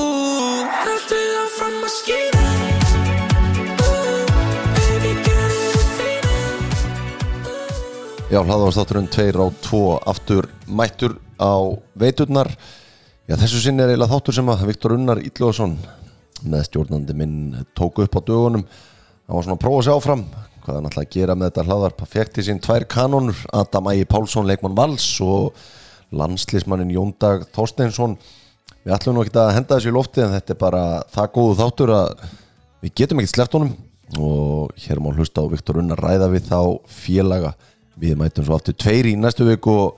Ooh, after I'm from mosquitoes. Ooh, baby, get it with feelings. Já, hlaðvarsþátturinn 2 á 2 aftur mættur á veiturnar Já, þessu sinni er eiginlega þáttur sem að Viktor Unnar Ítljóðsson með stjórnandi minn tók upp á dögunum hann var svona að prófa sig áfram hvað hann ætlaði að gera með þetta hlaðvarp hann fekk til sín tvær kanonur Adam Ægi Pálsson, leikmann Vals og landslismannin Jóndag Þorsteinsson Við ætlum nú ekki að henda þessu í lofti en þetta er bara það góðu þáttur að við getum ekki sleppt honum og hér má hlusta á Viktor Unnar ræða við þá félaga við mætum svo aftur tveir í næstu viku og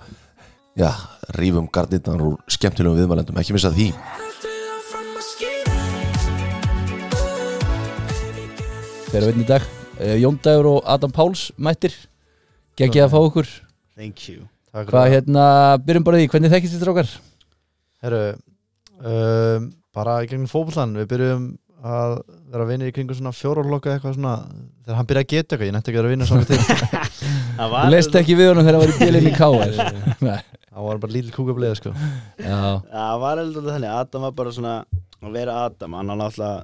já, rífum gardinnar úr skemmtilegum viðmælendum, ekki missa því After I'm from mosquitoes. Þeir eru einn í dag Eh, Jón Dagur og Adam Páls mættir Gekkið að fá okkur Thank you Takk Hvað fyrir hérna, byrjum bara á því, hvernig þekkist þið strákar? það. Herru, um, bara í gegnum fótbollan Við byrjum að vera vinir í kringum svona fjórólokka eitthvað svona Þegar hann byrja að geta eitthvað, ég nætti ekki að vera vinna saman til Það Þú var leist ekki við honum þegar það var í bílinni K.R. Það var bara lítil kúkabliða sko Já, Það var heldur þannig Adam var bara svona að vera Adam hann hann alltaf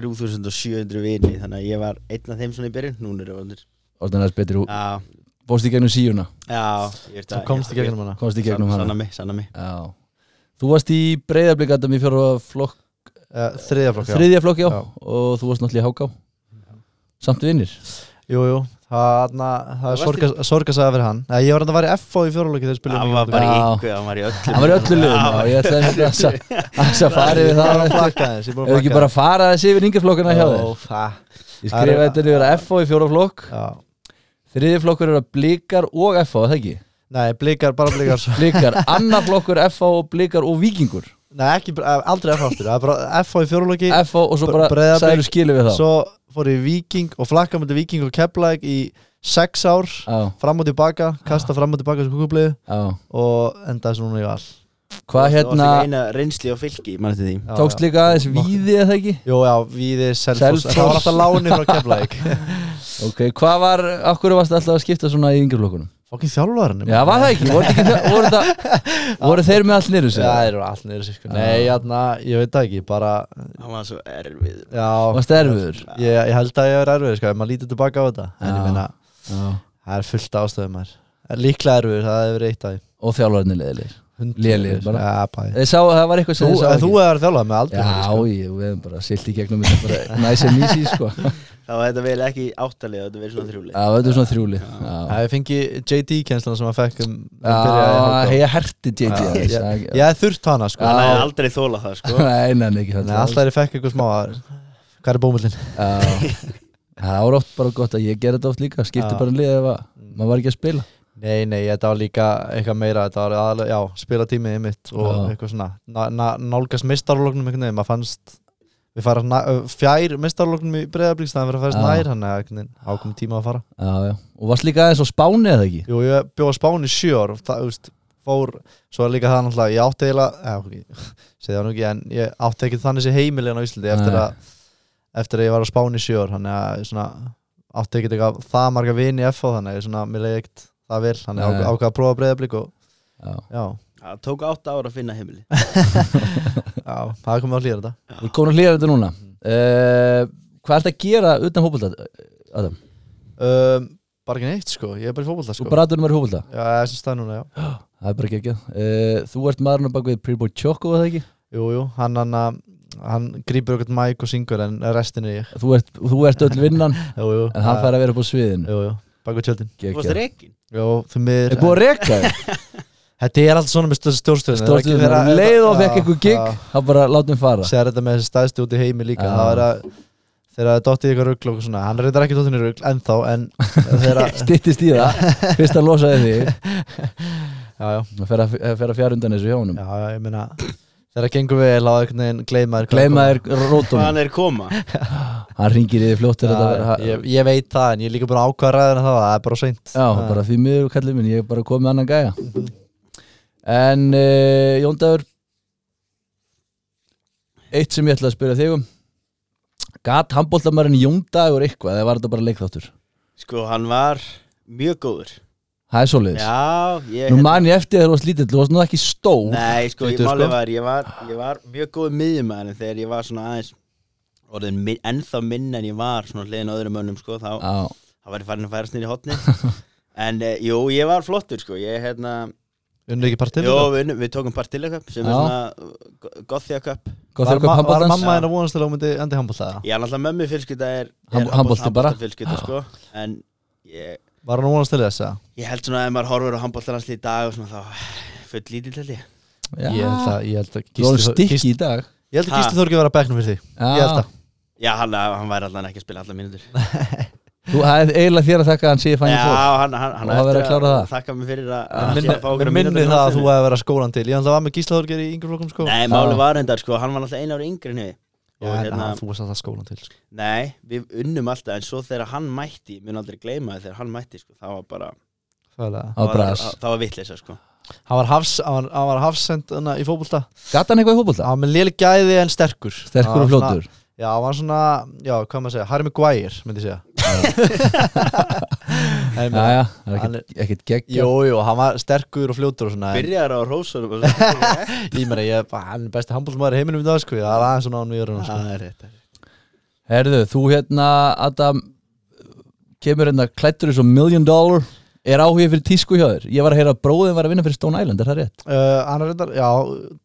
3700 vini þannig að ég var einn af þeim svona í byrjun núna er ég vondur orðan aðeins betur út Já, Bóst í gegnum síuna, já ég veit Þú að- komst í ég- gegnum hana komst í gegnum Sanna hana mig, sanna mig Já Þú varst í breyðablík Adam í fjóra flokk uh, Þriðja flokk, já Þriðja flokk, já, Já. og þú varst náttúrulega í háká Samt vinnir Jú, jú, það, na, það er varst sorga, sorgasaga fyrir hann Nei, Ég var hann að vara í FO í fjórólokki þegar spilum Það var bara í Já. ykkur, það var í öllu Hann var í öllu liðum og ég ætlaði hérna að sa- að sa- farið við það Ég er búin að Ef flakka þess, ég er búin við að ekki flakka bara fara þessi yfir yngjaflokkana hjá þér Ó, það- Ég skrifaði þetta niður að FO í fjóra flokk Já, Þriði flokkur eru að blikar og FO, er það ekki? nei, blikar, bara blikar svo Blikar, annar flokkur FO og blikar og vikingur Nei, ekki, eh, aldrei FO aftur, það er bara FO í fjórólokki FO og svo bara Breiðablik, sælu skilu við þá svo fór ég í viking og flakka mútið viking og keplæk í sex ár á, fram og tilbaka, kasta fram og tilbaka sem kúkublið á. og endaði svona í val Hvað hérna, Það var eina reynsli á fylki, mann eftir því já, tókst já. líka aðeins víði eða ekki? Jó, já, viðið Selfoss, Selfoss. en það var alltaf láni frá keplæk Ok, hvað var, okkur varst alltaf að skipta svona í yngjaflokkunum? Fokkin þjálfarinn Já, var það ekki? Voru, ekki þe- voru, það, voru þeir með allt niður Já, sig? það eru allt niður sér sko Nei, jæna, ég veit það ekki, bara Það var svo erfið Já, Varst það erfiður? ég, ég held að ég er erfið sko, ef maður lítið tilbaka á þetta En Já. ég meina, Já. það er fullt ástöðum maður En Líklega erfið, það hefur verið eitt af því. Og þjálfarnir leðilegir Lélegir bara. sko. Já, bæði Þeir sá, það var eitthvað Þú, sem þeir sá en þú er þjálfað með sko. aldrei Já, ég, við hefum bara silt í gegnum þetta bara Næs en easy, sko Það var þetta vel ekki áttalega, þetta verið svona þrjúlega Já, þetta er svona þrjúli Já, Já, ég fengi JD-kennslan sem að fekk um Já, byrjaði í ég herti JT HK. aðeins, Já, það- ég- Ég hef þurft hana sko Já. Hann hefði aldrei þóla það, sko Nei, nei, nei, ekki það Nei, alltaf er ég fekk eitthvað smá að Hvað er bómullin? Já. Það var oft bara gott að ég gerði þetta oft líka skipti Já. Mm. bara um lið ef að maður var ekki að spila Nei, nei, þetta var líka eitthvað meira Þetta var aðalega, já, spila tímiðið mitt og Já. eitthvað svona na, na, nálgast mistarlóknum einhvern veginn, maður fannst við fara na, ö, fjær mistarlóknum í breyðablíks þannig að vera að færast Já. nær hann eða ákom tíma að fara Já, já, og varst líka aðeins á Spáni eða ekki? Jú, ég bjóð á Spáni í sjö ár og það, þú veist, fór, svo er líka það náttúrulega ég átti eiginlega, eða, segði það nú ekki en ég átti ekki þannig sem heimilegan á Íslandi eftir Nei. að, eftir að ég var á Spáni í sjö ár þannig að, ég svona, átti ekki eitthvað það marga vini í FH þannig, að ég svona, mér leiði ekkert það vel, þannig Nei. að ákvað að prófa breyðablík og, Já. já, Það tók átta ára að finna heimili já, það er komið að hlýra þetta Við erum komin að hlýra þetta núna Mm. uh, Hvað ertu að gera utan hópulta, Adam? um, bara ekki neitt, sko, ég er bara í fótbolta, Þú sko bara aðdurum er í hópulta? já, ég er sem stað núna, já Það er bara ekki ekki uh, Þú ert maðurinn á bak við Preboy Choco eða ekki? jú, jú, hann, hann, að- hann grýpur okkur mæk og syngur en restin er ég, Þú ert, þú ert öll vinnan jú, jú en hann fær að vera upp á sviðinu jú, jú, baku tjöldin Þú varst Gekja. reikin Jó, þú miður Er búið að reka þig? Þetta er alltaf svona með stjórnstöðun Stórstuðunar, um leið og fekk eitthvað gig þá bara látum fara Sér þetta með þessi staðstu út í heimi líka Já. Það er að þegar það dottið eitthvað rugl og eitthvað svona Hann reyndar ekki dottinu rugl ennþá En þegar að Stittist í það, fyrst að losa þig þig Já, já, Það fer að, fer að fjara undan þessu hjá honum já, já, ég meina Þegar það gengur vel á einhvern veginn gleyma þér Gleima þér Hvað rótum hann er koma Hann ringir í því fljótt Já, þegar þetta já, ég, ég veit það en ég er líka búin að ákvæða ræðina það Það er bara seint Já, bara því miður kallið minn, ég er bara komið annan gæja En uh, Jón Dagur Eitt sem ég ætla að spyrja þig um Gat handbóltamærin Jón Dagur eitthvað eða var þetta bara leikþáttur? Sko, hann var mjög góður það er svoleiðis Já, ég Nú man ég eftir þegar þú varst lítill, þú varst nú ekki stór Nei, sko, ég Skrítið, máli sko. var, ég var, ég var mjög góð miðjumæður en þegar ég var svona aðeins orðin mi- ennþá minn en ég var svona hliðin á öðrum mönnum, sko, þá, Já, þá var ég farin að færa snýri hotni en e, jú, ég var flottur, sko, ég, hérna Unni ekki partinn jú, við, unnum- við tókum Partilla Cup sem Já. er svona eh, Gothia Cup gott þér ma- hvað var pambatans mamma hennar vonast til að hún myndi endi handbóltaða? Ég er náttúrulega mömmu fjölskylda er, Ham- er handbolti bara. Ah. fjölskylda, sko, en ég, Var hann vonast til þess að? ég held svona að ef maður horfur á handbóltalansli í dag og svona þá full lítill held ég Já, Ég held að, ég held að þú varum Þór- stikki Gísli- í dag Ég held að Ha? Gísli Þorgi var að bæknum fyrir því Ég Já, held að Já, hann, hann væri allan ekki að spila allar mínútur þú hafði eiginlega þér að þakka að hann sé fæn í Já, fólk hann, hann, hann Og það verður að klára það. Þakka mér fyrir að, Mér að sé að fá okkur minni- Mér minni það að þú hefði verið skólan til Ég held að var með Gísli Þorgi í yngur flokkum sko Nei, Já. máli var reyndar sko, hann var alltaf einu ári yngri en við Já, Og en hérna, að þú varst alltaf skólan til sko. nei, við unnum alltaf En svo þegar hann mætti, ég mun aldrei gleyma það Þegar hann mætti, sko, það var bara Fælega. Það var bras það- Það var vitleisa, sko Hann var hafs- hann var- hann var hafsend hana, í fótbolta Gat hann eitthvað í fótbolta? Hann var með léli gæði en sterkur Sterkur og Hann var svona- fljótur Já, hann var svona, já, hvað maður að segja, Harry Maguire myndi ég segja En ég Já, meina, já, það er Hann ekkert- ekkert gegg Jú, jú, hann var sterkur og fljótur og svona en Byrjar á rósunum og Ég meina, ég, bara, hann er besti handbóltmaður í heiminum í dag, sko Það er aðeins svona án við erum sko. Það er rétt Herðu, þú hérna, Adam Kemur hérna, klættur eins og million dollar Er áhugið fyrir tísku hjá þér Ég var að heyra að bróðin var að vinna fyrir Stone Island, er það rétt? uh, Hann er reyndar, já,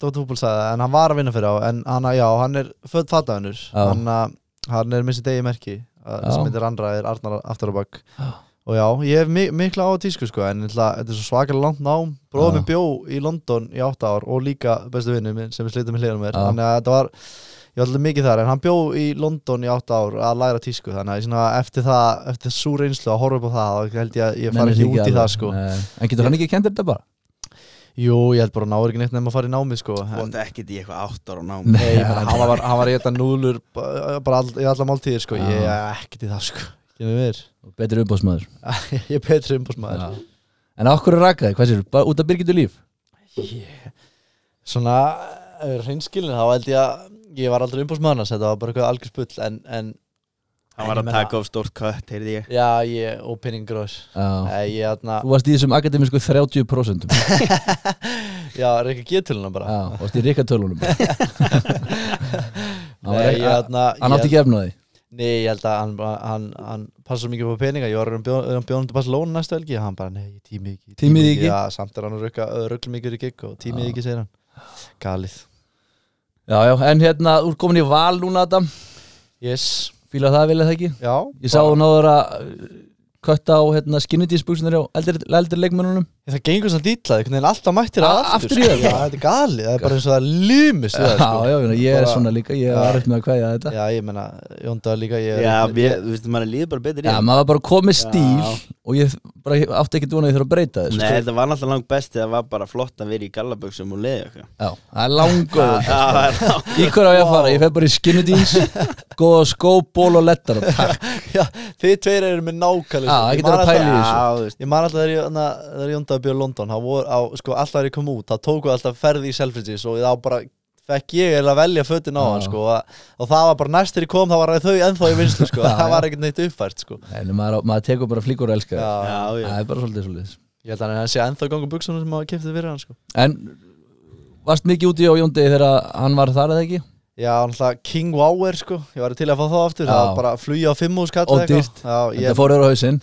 Dóttir Fútbol sagði það En hann var að vinna fyrir á En hann, já, hann er född fataðunur Já. hann, uh, hann er missi degi merki uh, Já. Sem myndir andra er Arnar aftur á bak Og já, ég hef mi mikla á á tísku, sko En ætla, þetta er svo svakalega langt nám Já. Bróðum minn bjó í London í átta ár Og líka bestu vinnu minn sem er slitað með hliðan á mér Já. Þannig að þetta var Ég var alltaf mikið þar, en hann bjó í London í átta ár að læra tísku, þannig að ég svona, eftir það, eftir svo reynslu að horfa upp á það, þá held ég að ég fari Nennir ekki ekki út í alveg. það, sko. Nei. En getur hann ekki kendur þetta bara? Jú, ég held bara að náður ekki neitt nefn að fara í námið sko Þú en, átt ekkert í eitthvað átt ára á nám Nei, Nei, ég meina, hann var, hann var að geta núðlur bara all, í alla máltíðir sko Já. Ég er ekkert í það sko Ég er, Betri umbóðsmaður ég er betri umbúrsmaður En af hverju rakaði, hvað sér, bara út af Birgitur líf? Svona, ef við erum hreinskilin þá held ég að ég var aldrei umbúrsmaður hans Þetta var bara eitthvað algjör spull en, en Hann var Ég að meina- taka of stórt kött, heyrði ég já, ég, og pinningur og þess Já. Nei, Ég, hérna- þarna, Þú varst í þessum akademisku 30% já, er ekki getulina bara Já, varst í rikkartölunum Hann var Nei, ekki- ég, þarna, Hann átti ég, ekki efnaði Nei, ég held að hann, hann, hann passa svo mikið upp á peninga Ég var um bjónum til Barcelona næstu helgi Hann bara, nei, ég tími ekki ég Tími þig ekki? Já, samt er hann að rukka ruggl mikið í gig og tími Já. þig ekki, segir hann Galið Já, já, en hérna, þú ert komin í val núna, Adam Yes Fýla það vel eða ekki? Já Ég sá þú náður að uh, kötta á hérna, skinnidísbúksunar á eldri, eldri leikmönnunum Það gengur svona dýtlað, einhvern veginn alltaf mættir að A- aftur í sko. það. Já, þetta er galið, það er bara eins og það lumist við Já, það, sko. já, ég er Bara- svona líka, ég Já. var upp með að kvæja þetta Já, ég meina, Jóndaður líka ég, er- Já, við- þú veist, maður líður bara betur í Já, það. maður var bara komið stíl Já. og ég bara ég átti ekkert vonað að ég þurfa að breyta þessu sko. Nei, þetta var náttúrulega langt besti Það var bara flott að vera í gallaböksum og leiði okkur Já, það er langóð Já, það er langt Í hverju á ég að fara? Ég fer bara í skinnideens góða skó, ból og lettar Takk, Já, þið tveir eru með nákvæmlega Já, sko. það Ég getur man að pæla í alltaf- þessu. Já, þú veist. Ég man alltaf þegar ég- þarna, þegar Jóndaður byrja í London þá voru á, sko, alltaf þegar ég kom út þá tóku alltaf ferði í Selfridges og þá bara fekk ég eiginlega að velja fötin á Já. hann sko, og, og það var bara næst þegar ég kom þá var þau ennþá í vinslu sko, Já, það já. var ekkert neitt uppfært sko. en maður, maður tekur bara flíkur og elskar Já, Já, já Það er bara svolítið svolítið ég held að hann sé ennþá gangu buksunum sem að kipta fyrir hann sko. En varst mikið úti á Jóndi þegar hann var þar eða ekki? Já, náttúrulega King Wow sko. ég var til að fá það aftur, Já. það var bara að flýja á fimm hús kall eða Og dýrt. eitthvað. já, Þetta ég, fór öðru á hausinn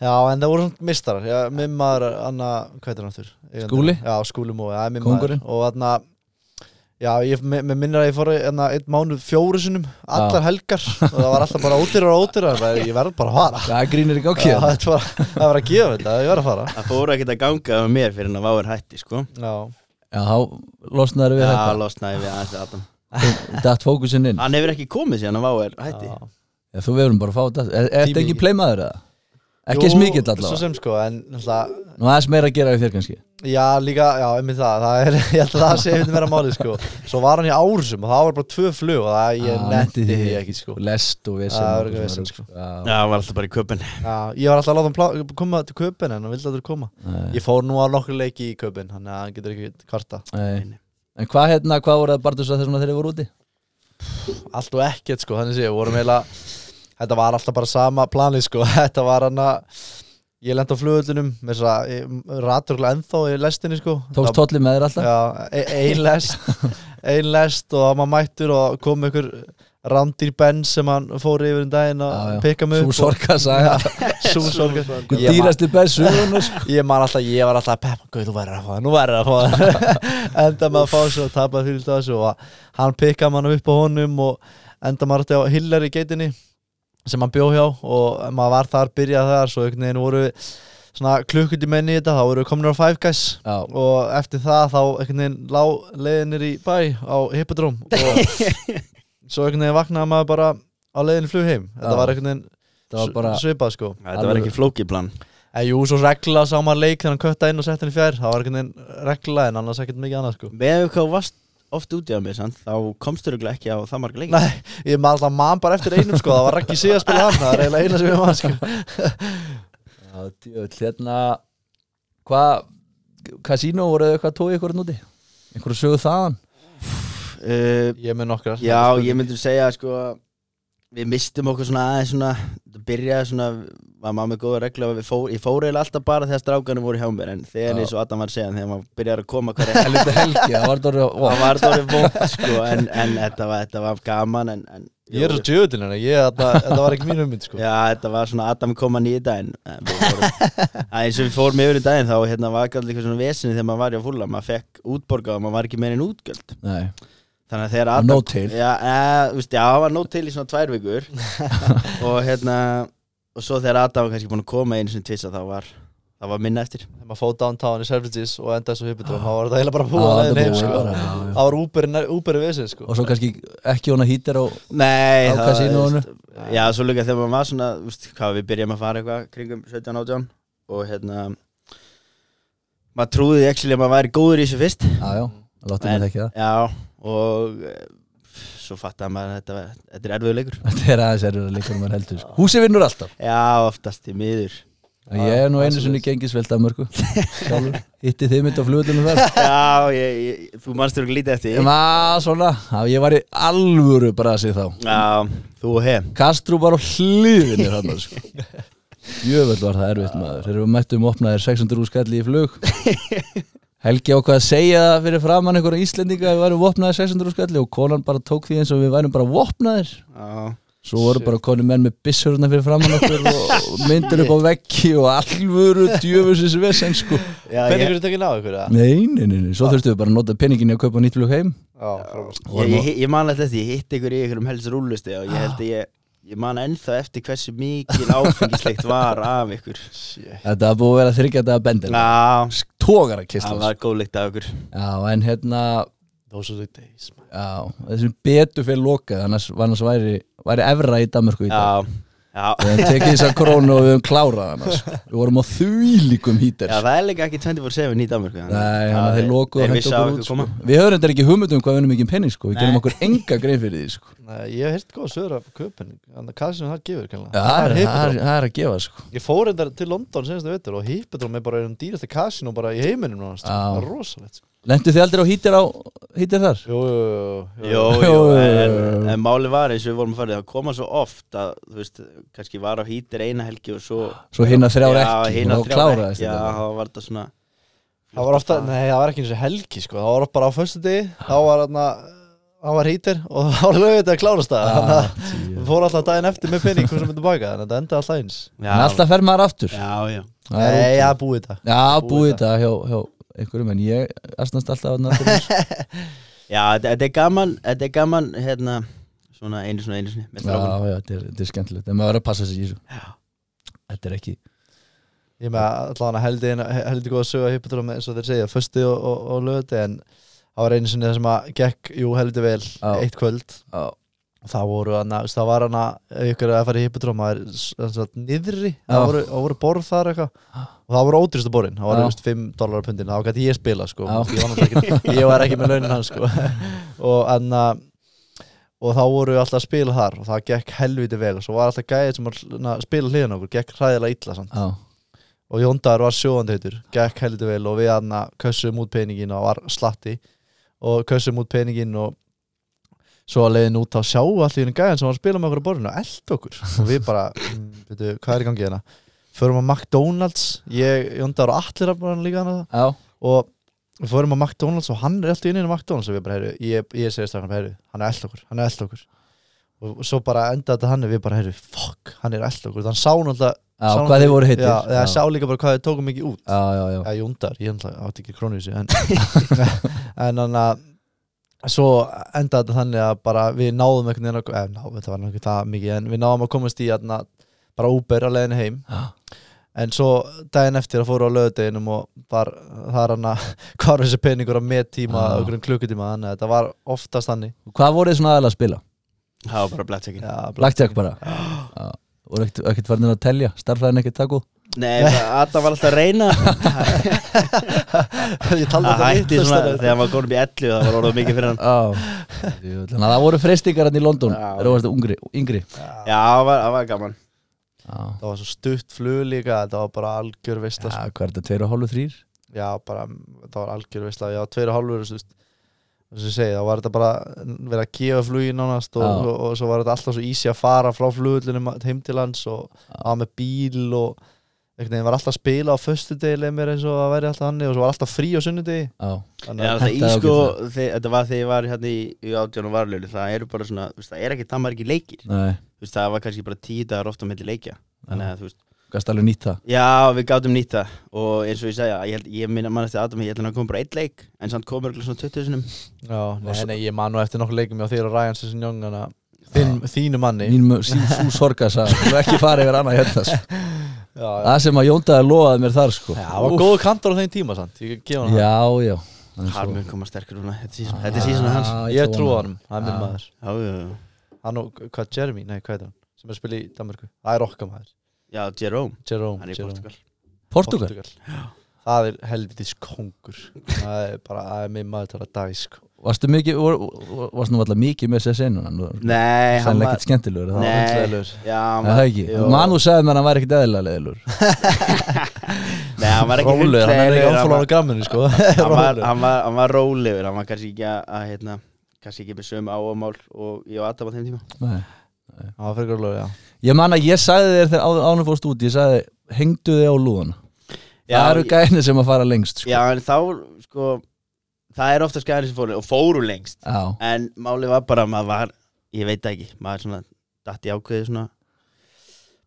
já, en það voru svona mistarar já, minn maður, Anna, hvað er hann aftur? Eigandi- Skúli? Já, Skúli Mói, það er minn Kóngurinn. maður og þarna, já, ég, mér mér minnir að ég fór enna, einn mánuð fjóru sinum allar helgar og það var alltaf bara ódýrar og ódýrar bara, ég verð bara að fara Það grínir ekki á Já, kjöð þetta var, það var að gefa þetta, ég verð að fara Það fór ekkert að ganga með mér fyrir en að váir hætti sko Já, Já, þá losnaður við Já, þetta losnaði við aðeins við Adam Datt fókusinn inn Hann hefur ekki komið síðan að váir hætti já. Já, þú verður bara að fá þetta Er er þetta Tími ekki í- playmaður eða? Ekki eins Jú, mikill Svo allavega sem sko, en náttúrulega Nú aðeins meira að gera við þér kannski Já, líka, já, einmitt það, það er, ég held að það sé einmitt vera málið, sko Svo var hann í ársum og það var bara tvö flug og það, ég Já, nefndi nefndi því Ah, því. ekki, sko Lest og vesen Já, það og var ekki svona vesen, rugl. sko. Já, Já, hann var alltaf bara í köpun já, Ég var alltaf að láta hann plá, koma til köpinn en hann vildi aldrei koma nei, Ég fór nú á nokkru leiki í köpinn, þannig að hann getur ekki kvarta nei. En hvað hérna, hvað voru það Bartus að þessum að þeir voru úti? Allt og ekkert, sko, þannig sé, við vorum heila Þetta var alltaf bara sama planið, sko Þetta var hann að ég lendi á flugöldunum með þess að raturlega ennþá í lestinni sko Tókst Það- tólli með þér alltaf? Já, e- ein lest ein lest og það maður mættur og kom einhver randýr benn sem hann fór yfir um daginn Já, já. að pikka mig Sú sorga saga Súsorg Einhver Sko, Dýrasti bessu Ég man alltaf, ég var alltaf Peppa, guð, þú verður að fá það, nú verður að fá það Enda maður að fá svo að tapa fyrir þessu og hann pikkaði mann upp á honum og enda maður átti á Hiller í geitinni sem hann bjó hjá og maður var þar, byrjaði þar svo einhvern veginn voru við svona klukkundi menni í þetta, þá voru við komin á Five Guys Já. og eftir það þá einhvern veginn lá leiðinir í bæ á Hippodrome og svo einhvern veginn vaknaði maður bara á leiðinni flug heim þetta Já. var einhvern veginn Það var bara s- svipað sko Þetta var ekki flókið plan En jú, svo regla sá maður leik þegar hann kötta inn og sett henni fjær Það var einhvern veginn regla en annars ekkert mikið annað sko Með hvað þú varst oft úti á mér sant? Þá komst þú örugglega ekki á það marga leikir Nei, ég maður alltaf mann bara eftir einum sko Það var ekki síðan að spila hann, það er eiginlega eina sem ég maður sko Já, djöfull, hérna Hvað Casino voru þau eitthvað tóið ykkur núti? Einhverju sögu þaðan? uh, Ég með nokkrar Já, ég myndi segja sko að Við mistum okkur svona aðeins svona Það byrjaði svona Var maður með góða regla og við fór, Ég fór eiginlega alltaf bara þegar strákarnir voru hjá mér En þegar Já. eins og Adam var að segja Þegar maður byrjar að koma hverja Helviti helgi, það var dórið Það var það vond sko En, en þetta, var, þetta var gaman en, en, Ég er svo djöðin henni, ég, þetta, þetta var ekki mín ummynd sko Já, þetta var svona Adam koma nýja daginn en við vorum- að eins og við fórum yfir í daginn þá hérna var ekki allir eitthvað svona vesinni þegar maður var í að fúla maður fekk útborgað og maður var ekki meira en útgjöld Nei, þannig að þegar það var Adam nóg til Já, e, veist, já, það var nóg til í svona tvær vikur og hérna og svo þegar Adam var kannski búin að koma einu sinni tvisa þá var, þá var minna eftir Þegar maður fóð downtown í Selfridges og endaði svo hippidróm Þá var þetta eiginlega bara Já, búið að þetta leiðin heim búið, sko já, já, já. Það var úberið úber vesið sko Og svo kannski ekki hona hýtir og Nei, Á það- kasínóinu? veist, Já, svo líka þegar maður var svona veist, hvað, við byrjum að fara eitthvað kringum 17-18 og hérna maður trúði ekki að maður væri góður í þessu fyrst Já, já, láttu mig En- ekki það Já, og eh, svo fattaði maður að þetta, var- þetta er erfiðu leikur Þetta er aðeins erfið að líka um að heldur sko. Húsi vinnur alltaf Já, oftast í miður Og Ég er nú einu sinni gengið svelta mörgu Sjálfur, hitti þið mitt á flugullunum þar Já, ég, ég, þú manst þér ekki lítið eftir því. Já, svona, Já, ég var í alvöru brasi þá Já, þú og hef Kastrú bara á hliðinni hann sko. Jöfell var það erfitt maður Þegar við mættum opnaðir 600 úr skalli í flug Helgi ákvað að segja það fyrir framann einhverja Íslendinga að við værum vopnaðir 600 úr skalli og konan bara tók því eins og við værum bara vopnaðir Já, Svo voru bara konu menn með bissurna fyrir framann okkur og myndir upp á veggi og alvöru djöfusins vesen sko já ég, Hvernig ykkur tekið ná ykkur eða? Nei, nei, nei, nei, svo þurftum við bara að nota peningin í að kaupa nýtt flug heim Já, frábært. ég, ég, ég man alltaf eftir, ég hitt ykkur í ykkur um helst rúlusti og ég held að ég, ég man ennþá eftir hversu mikil áfengislegt var af ykkur Shit. Þetta var búið að vera þryggja þetta að bendir Já, Tógar að það kistla var góðlegt af ykkur Já, en hérna Those are the days man. Já, þessum betur fyrir lokað annars, annars væri, væri evra í Danmarku í dag Já, já Við höfum tekið þessa krónu og við höfum klárað annars Við vorum á þvílíkum hítir Já, það er líka ekki 24-7 í Danmörku þannig Nei, að hann að þeir lokuðu og Þeir hentu vissu á okkur ykkur út sko. koma Við höfum þetta ekki hugmynd um hvað við höfum mikið penning sko Við Nei. gerum okkur enga grein fyrir því sko Nei, Ég hef hirt góð sögur af köpun Hvað sem það gefur kannan Já, það er, það er, það er að gefa sko Ég fór þetta til London senast að veitur og Hippodrome er bara um dýrasta kasinu bara í heiminum nánast. Já. Það er rosalegt sko. Lendu þið aldrei á hítir, á, hítir þar? Jú, jú, jú, jú. Jó, Jú, jú, jú, en, jú. en máli var eins og við vorum að fara í það koma svo oft að, þú veist, kannski var á hýtir eina helgi og svo Svo hinna þrjár Já, ekki, hina og þá þrjár kláraðist ekki, Já, þetta. það var þetta svona Það var ofta, nei það var ekki eins og helgi sko. Það var bara á föstu degi, þá var hann Það var hýtir og það var lögðið að klárast það Þannig að við fórum alltaf daginn eftir með penning hvernig sem myndum baka, þannig að þetta endaði alltaf eins Já, En alltaf fer maður aftur Já, já Það er Nei, já, búið þetta Já, Búið búið þetta hjá, hjá einhverjum en ég asnast alltaf að náttúrulega Já, þetta- þetta er gaman, þetta er gaman, hérna Svona einu svona, einu svona með strákunum. Já, já, þetta er, þetta er skemmtilegt en maður verður að passa sig í þessu Þetta er ekki Ég með allavega heldi, heldi góð að söga hippodrome eins og þeir segja, föstu og, og, og lögðið en það var einu sinni það sem að gekk, jú, heldi vel, Já. eitt kvöld Já, það voru hana, veist, það var hana ykkur að fara í hippodróma niðri, það Já. voru, það voru borð þar eitthvað og það voru ótrýstu borðin það Já. voru veist, 5 dólarar pundin, þá gæti ég spila sko. Já. ég, var náttúrulega ekki, ég var ekki með launin hans sko. og en að og þá voru við alltaf að spila þar og það gekk helviti vel og svo var alltaf gæðið sem var að spila hliðan á okkur, gekk hræðilega illa samt. já, og Jóndar var sjóandi heitur, gekk helviti vel og við hann að kössum út peningin og var slatti og kössum út peningin og svo að leiðin út þá sjáu allir einu gæðan sem var að spila með okkur á borðinu og eld okkur og við bara, mm, veitu, hvað er í gangi hérna förum að McDonalds ég, Jóndar og allir að bara líka hana Já, og við fórum á McDonalds og hann er alltaf inn í McDonalds og við bara, heyru, ég, ég segist að hann, heyru, hann er eld okkur, hann er eld okkur og, og svo bara enda þetta hann og við bara, heyru, fuck, hann er eld okkur hann sá náttúrulega, já sá hvað þið voru hittir já, já, sá líka bara hvað þið tókum mikið út já, já, já. Já, Jóndar, ég ætla átti ekki krónu í þessu en, en hann að svo endaði þetta þannig að bara við náðum einhvern veginn að, eh, náðum, þetta var nú ekki það mikið en við náðum að komast í aðna, bara Uber að leiðinu heim Já. en svo daginn eftir að fóru á lögadeginum og var, það er hann að hvað var þessi peningur á mettíma Já. og einhverjum klukkutíma þannig að þetta var oftast þannig Hvað voru þið svona aðalega að spila? það var bara blackjackin Já, Blackjack bara Já. Voru ekkert, ekkert farnir að telja, starfræðin ekkert takku Nei, bara Adam var alltaf að reyna ég um taldi Það þetta hætti vitlaust svona þarna. þegar hann var konum í 11 Það var orðið mikið fyrir hann Já Þannig að það voru frestingar hann í London Já. Þeir voru ungri, yngri Já, það var, það var gaman Já, það var svo stutt flug líka þetta var bara algjör Já, veist hvað er þetta, tveir og hálfu þrýr? já, bara, það var algjör veist já, tveir og hálfur, þú veist þess að segja, þá var þetta bara verið að gefa flugi nánast og, Já. og, og svo var þetta alltaf svo easy að fara frá flugullinu heim til hans og Já. að með bíl og einhvern veginn var alltaf að spila á föstu degi leið mér eins og að væri alltaf hannig og svo var alltaf frí á sunnudegi Já, þannig Já, að það í Hentaði sko, ágætlega. þe- þetta var þegar ég var hérna í, í átján og varlölu Það eru bara svona, þú veist, það er ekki, það var ekki leikir nei, Þú veist, Það var kannski bara tíu dagar ofta með til leikja Þannig að þú veist gæst alveg nýtt það Já, við gátum nýtt það og eins og ég segja, ég, held, ég minna mann eftir Adam, ég held að hann kom bara einn leik en samt kom örgulega svona 20 sinum já, nei, nei, ég man nú eftir nokkuð leikum á þér og Ryan Sesson Young þannig að þín, þínu manni Mín mö- sín sú sorga sagði hann. Þú ekki fara yfir annað hérna sko. já, já. Það sem að Jóndaði lofaði mér þar sko já, það var góð kantor á þeim tíma sant, ég gefa hann það Já, já Hann er Hann svo- mun koma sterkur núna, þetta er season- þetta er síðan hans Já, ég trú á vona hann, Já. Já, já, hann er minn maður já. hann og, hvað, Jeremy, nei, hvað er hann sem er að spila í Danmarku, það er okkar maður já, Jerome, Jerome, hann er í Jerome. Portugal Portugal Það er helvitis kongur Það er bara, það er minn maður til að dag sko. Varstu mikið, vor- vor- varstu nú alltaf mikið með sér senuna Nei, hann Sannlega var ekkert skemmtilegur það var- Nei. hundleiðilegur. Já, hann Nei, Það var er ekki, Jú. mann og sagði mér að hann væri ekkert eðlilega leðilur Nei, hann var ekki Rólegur, hann er ekki hundleiðilegur, áfólan á hann gramminu sko. var- hann var- Rólegur. Hann var- hann var rólegur, hann var kannski ekki að, að hérna, kannski ekki með sömu áamál og ég og Adam á þeim tíma Hann var fyrir rólegur, já Ég man að ég sagði þér þegar áður- ánum fórst út Ég sagði, hengdu þig á lúðana Það eru ég- gæðinni sem að fara lengst sko. Já, en þá, sko það er ofta skæðin sem fóru og fóru lengst Já, En málið var bara að maður var Ég veit það ekki, maður svona Datt í ákveði svona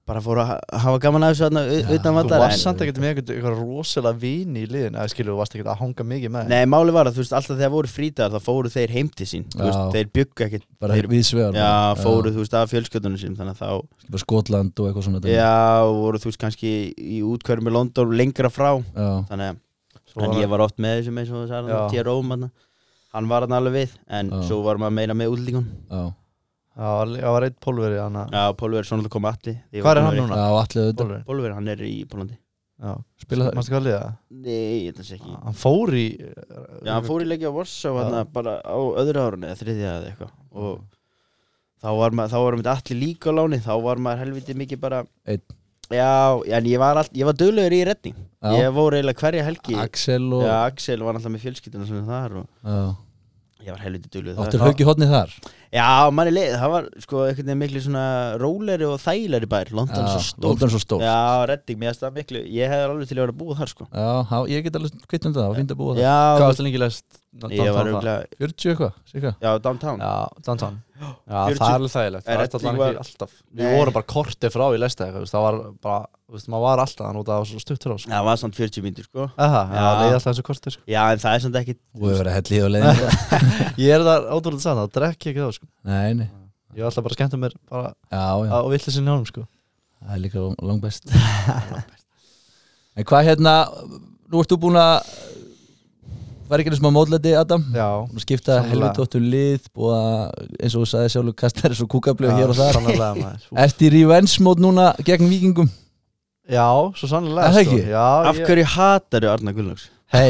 Bara fór að ha- hafa gaman að þessu þarna u- Já, utan Þú vandara varst samt ekkert með einhvern- einhver rosalega vini í liðin Eða skilur, þú varst ekkert að hanga mikið með Nei, málið var að þú veist, alltaf þegar voru frítagar þá fóru þeir heim til sín Þú veist, Já. Þeir byggu ekkert bara þeir, við svegar Já, fóru þú veist af fjölskyldunum sín Þannig að þá, Skotland og eitthvað svona dæmi. já, voru þú veist kannski í útkvörum í London lengra frá Já. Þannig að Svo en var- ég var oft með þessum eins og það sagði hann, Já. Jerome hann Hann var hann alveg við, en Já. svo var maður meira með útlíkun Já, Já, var- já, var eitt pólveri hann að- Já, Pólver, svona kom allir Hvar er hann núna? já allir þetta Pólveri Pólver, hann er í Pólandi Já, Spila það Manstu hvað liða? Nei, ég þessi ekki Ah. Hann fór í Já, hann fór í leikja á Vorsá Já. hann bara á öðru árunni eða þriðja eða eitthvað Ah. og þá var maður, þá var maður allir líka á láni þá var maður helviti mikið bara Einn. Já, en ég var, all, ég var döglegur í redning Já. Ég voru eiginlega hverja helgi Axel og Já, já. Axel var alltaf með fjölskyldina sem þar og ég var helviti döglegur Áttur haugi hodni þar Já, manni leið, það var sko einhvern veginn miklu svona róleri og þægilegri bær London er svo stórt London svo stór Já, Já, redning, mér finnst það miklu Ég hefði alveg til að vera að búa þar sko já ég get alveg kvitt um það, það var fínt að búa það Já, Hvað varst lengi lest? ég var auðvitað 40 eitthvað, síka Já, downtown Já, Dantan Já, það 40 er alveg þægilegt Það Reddi sko. er alltaf var- ekki alltaf Við Nei. vorum bara korti frá í lesta eitthvað þú veist, Það var bara, þú veist, maður var alltaf þannig að það var svo stuttur á sko. Það var samt 40 mínútur sko Aha, Já, Já. leiði alltaf þessu korti sko. Já, en það er samt ekki Þú hefur verið að hella í og leiðin Ég er það ótrúlega sann, það drekk ég ekki þá sko. Nei, nei, Ég var alltaf bara að skemmta mér bara já, já, á villisin hjálm sko. það er líka lang- langbest En hvað hérna Nú ert þú búin að Var ekki einu smá mótleti, Adam? Já, Búin að skipta Sannlega. helvitóttu lið búið að, eins og þú sagði sjálfur kastar þessu kúkablið hér og þar sannlega maður Úff. Ert í revenge mót núna gegn vikingum? Já, svo sannlega Er það sko. ekki? Já, Af ég- hverju hatar þú Arna Gullnáks? Hei,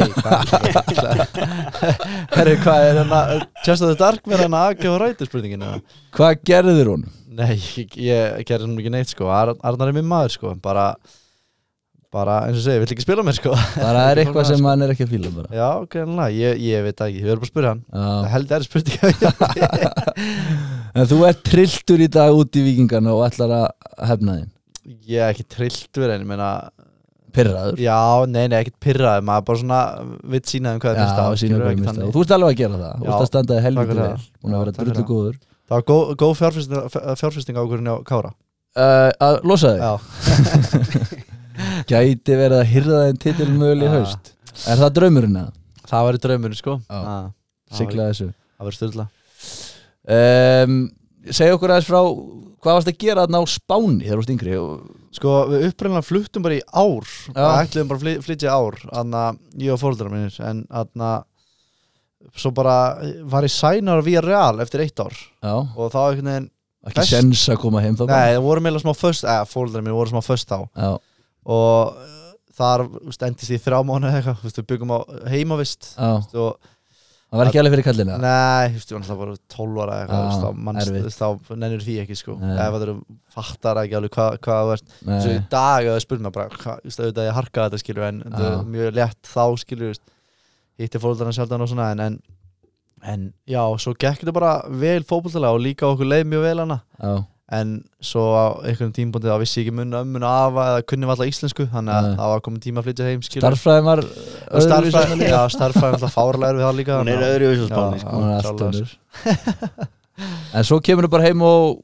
herri, hvað er hérna Just of the Dark með hérna AG og ræti spurningin eða? Hvað gerðir hún? Nei, ég, ég gerði svona ekki neitt sko Ar- Arnar er minn maður sko bara, bara, eins og segja, vill ekki sko. spila mér sko Bara er eitthvað sem hann er ekki að fíla bara Já, greinlega, ég, ég veit það ekki, við erum bara að spyrja hann Það Já. held er spurning En þú ert trilltur í dag út í vikingana og ætlar að hefna þín ég er ekki trillt verið en ég meina Pirraður já, nei, nei, ekkert pirraði maður bara svona vitt sína um hvað það Já, finnst á sýnum skilurðu, hverju ekki mista þannig. Og þú ert alveg að gera það Þú Já, ert að standaði takk helviti fyrir vel það. Búin að Já, vera takk fyrir drullu góður það var góð, góð fjárfesting, fjárfesting ákvörðin á Kára uh, Að losa þig já, Gæti verið að hirða þeim titil mögulega í Ah. haust Er það draumurinn að það var í draumurinn sko Já. Ah, það væri- sigla þessu? það var styrla Um, segja okkur aðeins frá Hvað varst að gera þarna á Spáni þegar þú varst yngri og, Sko, við upprænlega fluttum bara í ár Við Já. ætluðum bara að fly- flytja í ár Þannig að ég og fóruldrar mínir En þannig að Svo bara eh, var ég sænar via real Eftir eitt ár Já, Og þá einhvern veginn ekki Best- sens að koma heim þá Nei, það voru meðlega smá föst Eða, fóruldrar mínir voru smá föst þá Já, Og eh, þar þú veist, endist ég í þrjá mánu eða eitthvað þú veist, Við byggum á heimavist já, og, það var ekki alveg fyrir kallina Nei, þú veist, ég var náttúrulega bara 12 Já, ára eða eitthvað, þú veist, þá manst- Ah, erfitt. þú veist, Þá nennir því ekki sko Nei. Ef það eru fattar ekki alveg hvað, hvað þú ert Svo í Nei, dag að það spurði mér bara hva- þú veist, auðvitað ég harkaði þetta skilur en þetta Já. er mjög létt þá skilur þú veist. hitti fólkarna sjaldan og svona en, en, en já, svo gekk þetta bara vel fótboltalega og líka okkur leið mjög vel hana já, en svo á einhvern tímpóndi þá vissi ég ekki munna um munna af að það kunni alltaf íslensku þannig að Nei. það var komin tíma að flytja heim skilur starffræðin var öðruvísi og en starffræði, að- já, starffræði alltaf fárlegar við það líka Hún er þannig að- öðru í þessu Já, spáni sko. já. hún er allt klálega, önnur En svo kemur þú bara heim og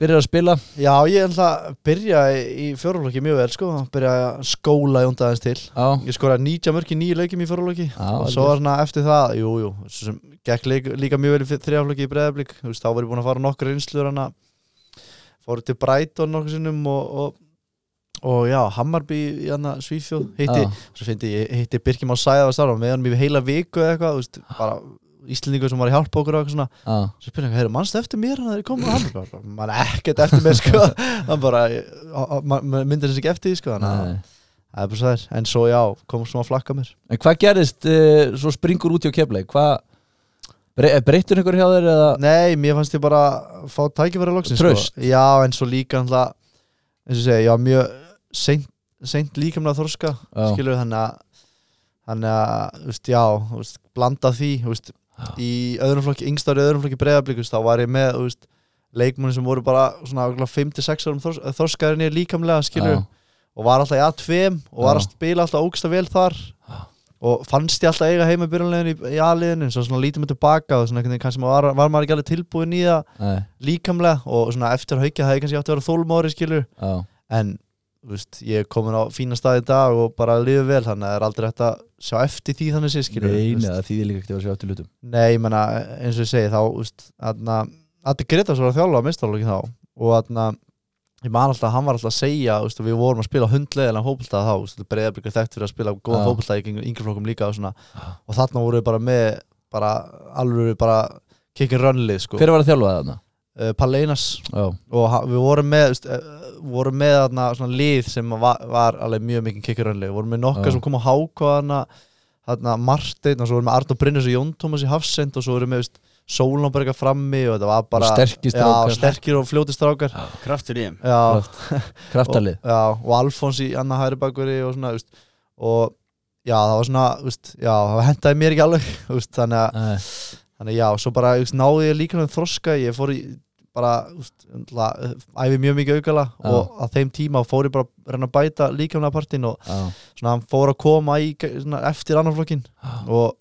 byrjar að spila já, ég ætla að byrja í fjóruflokki mjög vel sko, byrja að skóla jóndaðins til Já, ég skoraði 90 mörk í nýju leikjum í fjóruflokki já og svo var svona eftir það, jú, jú svo sem gekk líka, líka mjög vel í þrjáflöki í breðablík, þú veist, þá var ég búin að fara nokkur reynslur hann að fóru til Brighton nokkur sinnum og, og, og já, Hammarby í hann að Svíþjóð, hitti, Já. svo fyndi ég hitti Birkjum á Sæða var starfa með hann í heila viku eða eitthvað, þú veist, bara Íslendingur sem var að hjálpa okkur og eitthvað svona Já, svo spyrir hann, heyrðu, mannstu eftir mér hann þegar ég kom á Hammarby mann ekkert eftir mér, sko hann bara, myndir hans ekki eftir því, sko, þannig að nei. það er bara svo þær en svo já, kom svona að flakka mér En hvað gerist, uh, svo springur út hjá kefleik Hvað, bre breyttur einhver hjá þér eða Nei, mér fannst ég bara að fá tækifæri loksins Traust. sko. Já, en svo líka alltaf, eins og segja, ég var mjög seint, seint líkamlega þorska Já. skilur þannig að þannig að, þú veist, já, þú veist, blanda því þú veist, í öðrum flokki yngstári öðrum flokki breyðablík, þá var ég með þú veist, leikmunni sem voru bara svona 5-6 árum þors, þorskaðinni líkamlega skilur, Já. og var alltaf í A2 og var Já. að spila alltaf ógsta vel þar og fannst ég alltaf eiga heima í byrjunleginu í, í A-liðinu, en svo svona lítum við tilbaka og svona einhvern veginn kannski maður var, var maður ekki alveg tilbúin í það Nei, líkamlega og svona eftir haukja það ég kannski átti að vera þólmári skilur já, en þú veist, ég er komin á fína stað í dag og bara liðu vel þannig að það er aldrei hægt að sjá eftir því þannig sé skilur nei, þú veist. Sko. neða, það þýðir líka ekkert að sjá eftir hlutum Nei, ég menna, eins og ég segi þá úst, aðna, Addi Gretars var að þjálfa að mistalóki þá og aðna, ég man alltaf, að hann var alltaf að segja úst, við vorum að spila hundlegilega fótbolta þá úst, breyðablikur þekkt fyrir að spila góða Já. fótbolta í yngri- yngri flokkum líka og, svona, og þarna voru við bara með bara, alveg bara kikkin rönnlið sko. Hver var að þjálfa það þarna? uh, Palleinas Já, og ha- við vorum með úst, uh, vorum með þarna, svona lið sem var, var alveg mjög mikið kikkin rönnlið vorum með nokka Já. sem kom á hákvaðana þarna Marteinn og svo vorum við Arnó Brynnes og Jón Tómas í Hafsend og svo vorum við veist, Sólun og bara eitthvað frammi og þetta var bara Og sterkir strákar. já, sterkir og fljóti strákar Kraftur í þeim já, kraftalið og, já, og Alfons í Anna Hæribakkveri og svona veist, og já það var svona veist, já, það hentaði mér ekki alveg veist, þannig, að, Nei, þannig að já, svo bara veist, náði ég líka með þroska ég fór í bara úst, eh, æfi mjög mikið aukala Já. og að þeim tíma fór ég bara að reyna að bæta líkamlega partinn og já, svona hann fór að koma í, svona, eftir annan flokkin og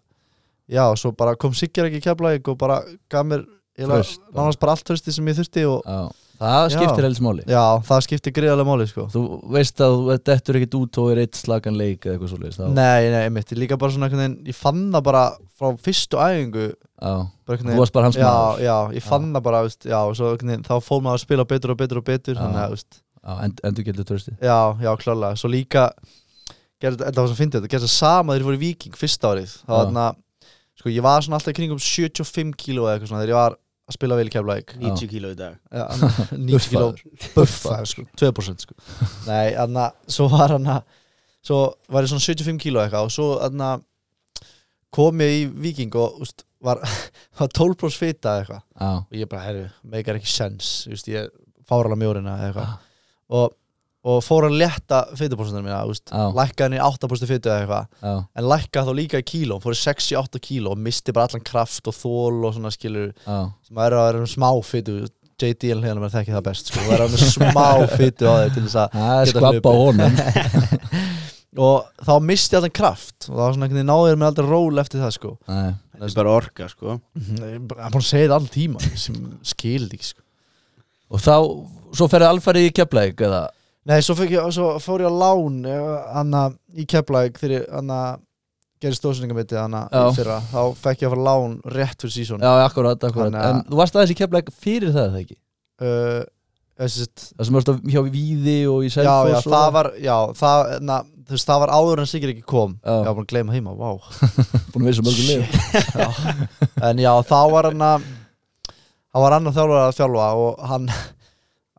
já, svo bara kom Sigur ekki í keflæk og bara gaf mér eiginlega Traust. nánast bara allt trösti sem ég þurfti og já Það Já. skiptir helst máli já, það skipti greiðarlega máli sko. Þú veist að þú dettur ekkert út og er eitt slagan leik eða eitthvað svoleiðis þá- nei, nei, einmitt, ég líka bara svona einhvern veginn, ég fann það bara frá fyrstu æfingu Já, bara einhvern þú veginn- varst bara hans maður já, já, ég fann það bara, veist, já, og svo einhvern veginn, þá fór maður að spila betur og betur og betur, Já. þannig að, veist, Já, en, endur getur törstið Já, já, klárlega Svo líka gerði, þetta var svo fyndið, þetta gerði það sama þegar ég voru í Viking fyrsta árið þá Já. þarna, sko, ég var svona alltaf í kringum 75 kíló eða eitthvað svona þegar ég var að spila vel í Keflæk 90 kíló í dag Já, 90 kíló buffa, sko, 2% sko Nei, þannig að svo var hann að svo var ég svona 75 kíló eitthvað og svo þannig að kom ég í Viking og úst, var, var 12% fita eða eitthvað Já, og ég bara, herru, meikar ekki sens þú veist, ég fárala mjórina eða eitthvað og, og fór að létta fytuprósentina mína, þú veist, Já. lækka henni í 8% fytu eða eitthvað, já, en lækka þá líka í kíló, fór í 68 kíló og misti bara allan kraft og þól og svona skilur já sem að eru að vera um smá fytu JD en hérna maður þekki það best sko, það er alveg smá fytu á þeir til þess að Það er Geta skvabba á hlaupið. honum og þá misti ég allan kraft og það var svona einhvern veginn náður með aldrei ról eftir það sko Nei. Það er bara orka, sko það er bara búin að segja það allan tíma sem skildi ekki sko Og þá, svo ferði alfarið í keflæk eða nei, svo, fekk ég, svo fór ég á lán eh, anna, í Keflæk þegar anna, gerði stóðsendingamitið anna, Já. fyrra, þá fekk ég að fara á lán rétt fyrir sísón Já, akkurat, akkurat Þannig að- En þú varst aðeins í keflæk fyrir það, er það ekki? uh, þessi, Það sem varst að- hjá Víði og í já, Selfoss já, og- það var já, það, na, þú veist, það var áður en Sigrid ekki kom Já. ég var búin að gleyma heima, vá Búin að vera svo mörgum liðum en já, þá var hann að hann var annar þjálfur að þjálfa og hann,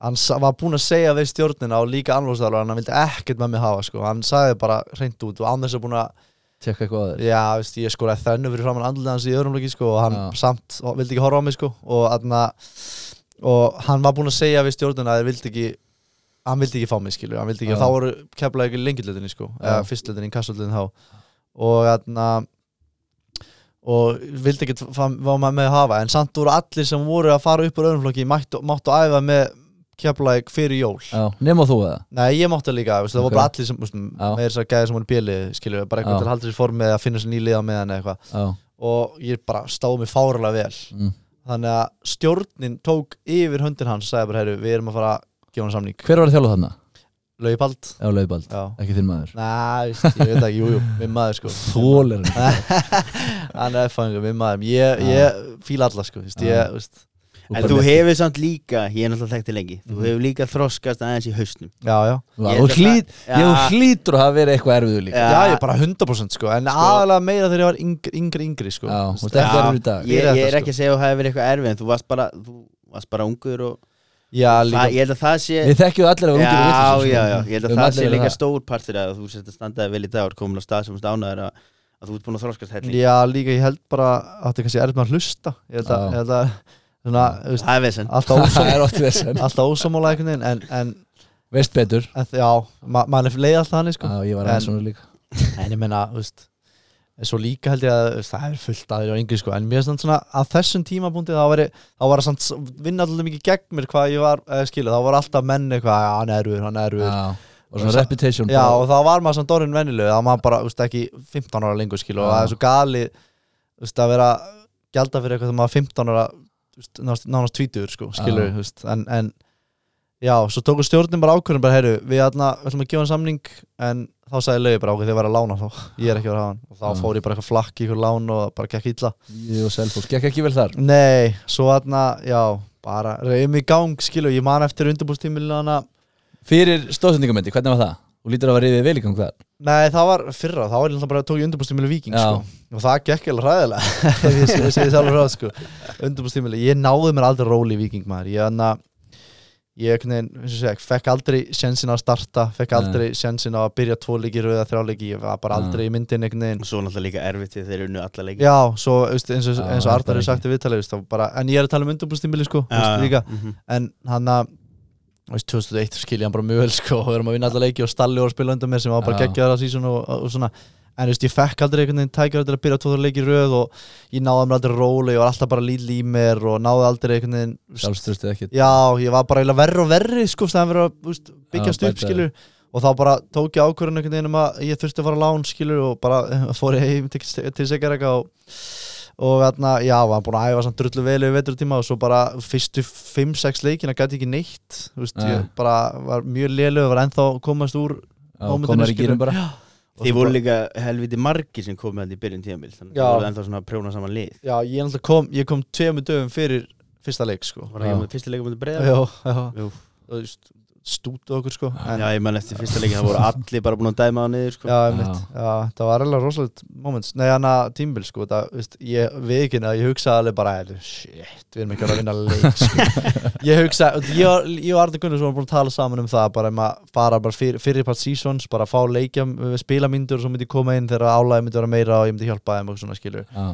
hann sa- var búinn að segja við stjórnina og líka annarsþjálfur hann vildi ekkert með mig hafa sko, hann sagði bara hreint út og án þess að búin að, Tjekka eitthvað að þér já, veist, ég skoraði þennu fyrir framann andlið hans í öðrumleiki sko og hann Já. samt og, vildi ekki horfa á mig sko og, aðna, og hann var búinn að segja við stjórnina að þeir vildi ekki hann vildi ekki fá mig skilur, hann vildi ekki Já. og þá voru keflaði ekki lengjuleitinni sko, Já. eða fyrstleitinni, kastalleitinni þá og aðna og vildi ekkert fá fá maður með að hafa en samt voru allir sem voru að fara upp úr öðrumflokki máttu, máttu að æfa með keflaðið fyrir jól Já, nema þú eða Nei, ég mátti líka, veistu, það Ok. voru bara allir sem veistu, Já. með þess að gæða sem hún er bjelið skilur, bara Já. eitthvað til að halda sér í formi eða finna sér nýliða með hann eitthvað Já, og ég bara stáði mig fárulega vel mm. þannig að stjórnin tók yfir höndin hans sagði bara, heyru, við erum að fara að gefa hann samning Hver var að þjálfa þarna? Laupald, Já, Laufbald, já ekki þinn maður Næ, veist, ég veit ekki, jú, jú, minn maður sko Þólir hann Hann er fangum, minn maður Ég, ég fíla alla sko, veist, Já. ég, veist, En þú hefur samt líka, ég er náttúrulega þekktið lengi Þú hefur líka þroskast aðeins í hausnum já, já Já, Ég þú ætla- hlýt, Já. ég hlýtur að hafa verið eitthvað erfiður líka Já, ég er bara 100% sko En aðalega meira þegar ég var yngri, yngri, yngri sko Já, og Þú veist, þetta já, er í dag Ég, Fyrir ég þetta, er sko. ekki að segja að það hefur verið eitthvað erfið En þú varst bara, þú varst bara ungur og já, líka, það, Ég held að það sé Við þekkjum allir að vera ungir og vitlausir, Eh. Já, sko. já, já, ég held Við höfum að það allir sé verið líka það. stór partur að þú sért að standaði vel í dag og komin á stað sem stánaður að, að þú ert búin að þroskast helling já, líka ég held bara Átti kannski erfitt með að hlusta Ég held að, Já. ég held að svona, þú veist, Það er vesen Alltaf Það ósammála er ótt vesen Alltaf ósammála einhvern veginn En, en, Veist betur en já, ma maður er leið alltaf hann sko. Já, ég var En- aðeins svona líka En ég meina, þú veist en Svo líka held ég að þú veist, það er fullt aðeins á yngri sko En mér er svona að þessum tímabúndi Þá var, ég, þá var að samt s- vinna alltaf mikið gegn mér Hvað ég var, eh, skilu, þá var alltaf menn eitthvað "Já, Hann er erfur, hann er erfur Já, og svona reputation Já og þá var maður samt orðin venjulegu þá var maður bara úst, ekki 15 ára lengur skil og Já. það er svo gali úst, að vera gælda fyrir eitthvað þegar maður er 15 ára úst, nánast, nánast tvítur sko, skilur Já. úst, en, en já, svo tóku stjórnin bara ákvörðin bara heyru, við ætla, ætlum að gefa hann samning en þá sagði lögi bara ákveð þið verða að lána þá, ég er ekki að vera að hafa hann og þá Já. fór ég bara eitthvað flakk í ykkur lán og bara gekk illa Ég og Selfoss, gekk ekki vel þar Nei, svo þarna, já, bara reyðum í gang skilur, ég man eftir undirbúrstímilina Fyrir stóðsendingamöndi, hvernig var það? Þú lítur að var reyðið vel í gang þar Nei, það var fyrra, þá var ég náttúrulega bara að tók ég undirbúrstímili viking Já. sko. og það gekk alveg ræðilega ef ég segi segi það alveg ráð sko. undirbúrstímili, ég náði mér aldrei róli í viking maður, ég hann að ég einhvern veginn, eins og segja, fekk aldrei sjensin á að starta, fekk Nei. aldrei sjensin á að byrja tvo leiki rauða þrjáleiki, ég var bara Nei. aldrei í myndin einhvern veginn Og svo náttúrulega líka erfitt því þeir unnu alla leiki Já, svo veist, eins og, Já, eins og Arnar Arnar er ekki. sagt í viðtali, veist, þá bara, en ég er að tala um undirbúrstímili sko, veist, líka mhm. en hann að þú veist, 2001 skilja hann bara mjög vel sko, og við erum að vinna alla leiki og Stalli var að spila undan mér sem var bara Já. geggjaður að sísun og, og, og svona en þú veist, ég fekk aldrei einhvern veginn tækjara til að byrja tvo þar leiki í röð og ég náði mér aldrei róli og var alltaf bara lítil í mér og náði aldrei einhvern veginn þú veist, Sjálfstrustið ekkert já, ég var bara eiginlega verri og verri sko, það verið að þú veist, byggjast Já, upp bæta skilur og þá bara tók ég ákvörðun einhvern veginn um að ég þurfti að fara á lán skilur og bara eh, fór ég heim til, til segjar eitthvað og og þarna, já, var búin að æfa samt drullu vel yfir veturtíma og svo bara fyrstu 5-6 leikina gæti ekki neitt þú veist, Nei. ég bara var mjög lélög var ennþá að komast úr Já, mómentinu, komar í skilur. gýrum bara og Þið svo voru bara- líka helviti margir sem komið hann í byrjun tíðamil Þannig að Já. það voru ennþá svona að prjóna saman lið já, ég, náttúrulega kom, ég kom tveimur dögum fyrir fyrsta leik, sko Var það Já. ekki með fyrsta leikum að breyða? já, já, Jú. þú veist, stútu okkur, sko en, Já, ég man eftir fyrsta leikin, það voru allir bara búin að dæma á niður sko. Já, Já. einmitt, já, það var alveg rosalegt moments, nei hann að tímbil sko það, veist, ég veikinn að ég hugsaði alveg bara "Heyrðu, shit, við erum ekki að fara að vinna leik sko. ég hugsaði, ég, og- ég og Arne Gunnarsson var búin að tala saman um það bara um að fara bara fyrir, fyrir part seasons bara að fá leikja, spilamyndur og svo myndi ég koma inn þegar álæði myndi vera meira og ég myndi hjálpa þeim og svona skilur Já.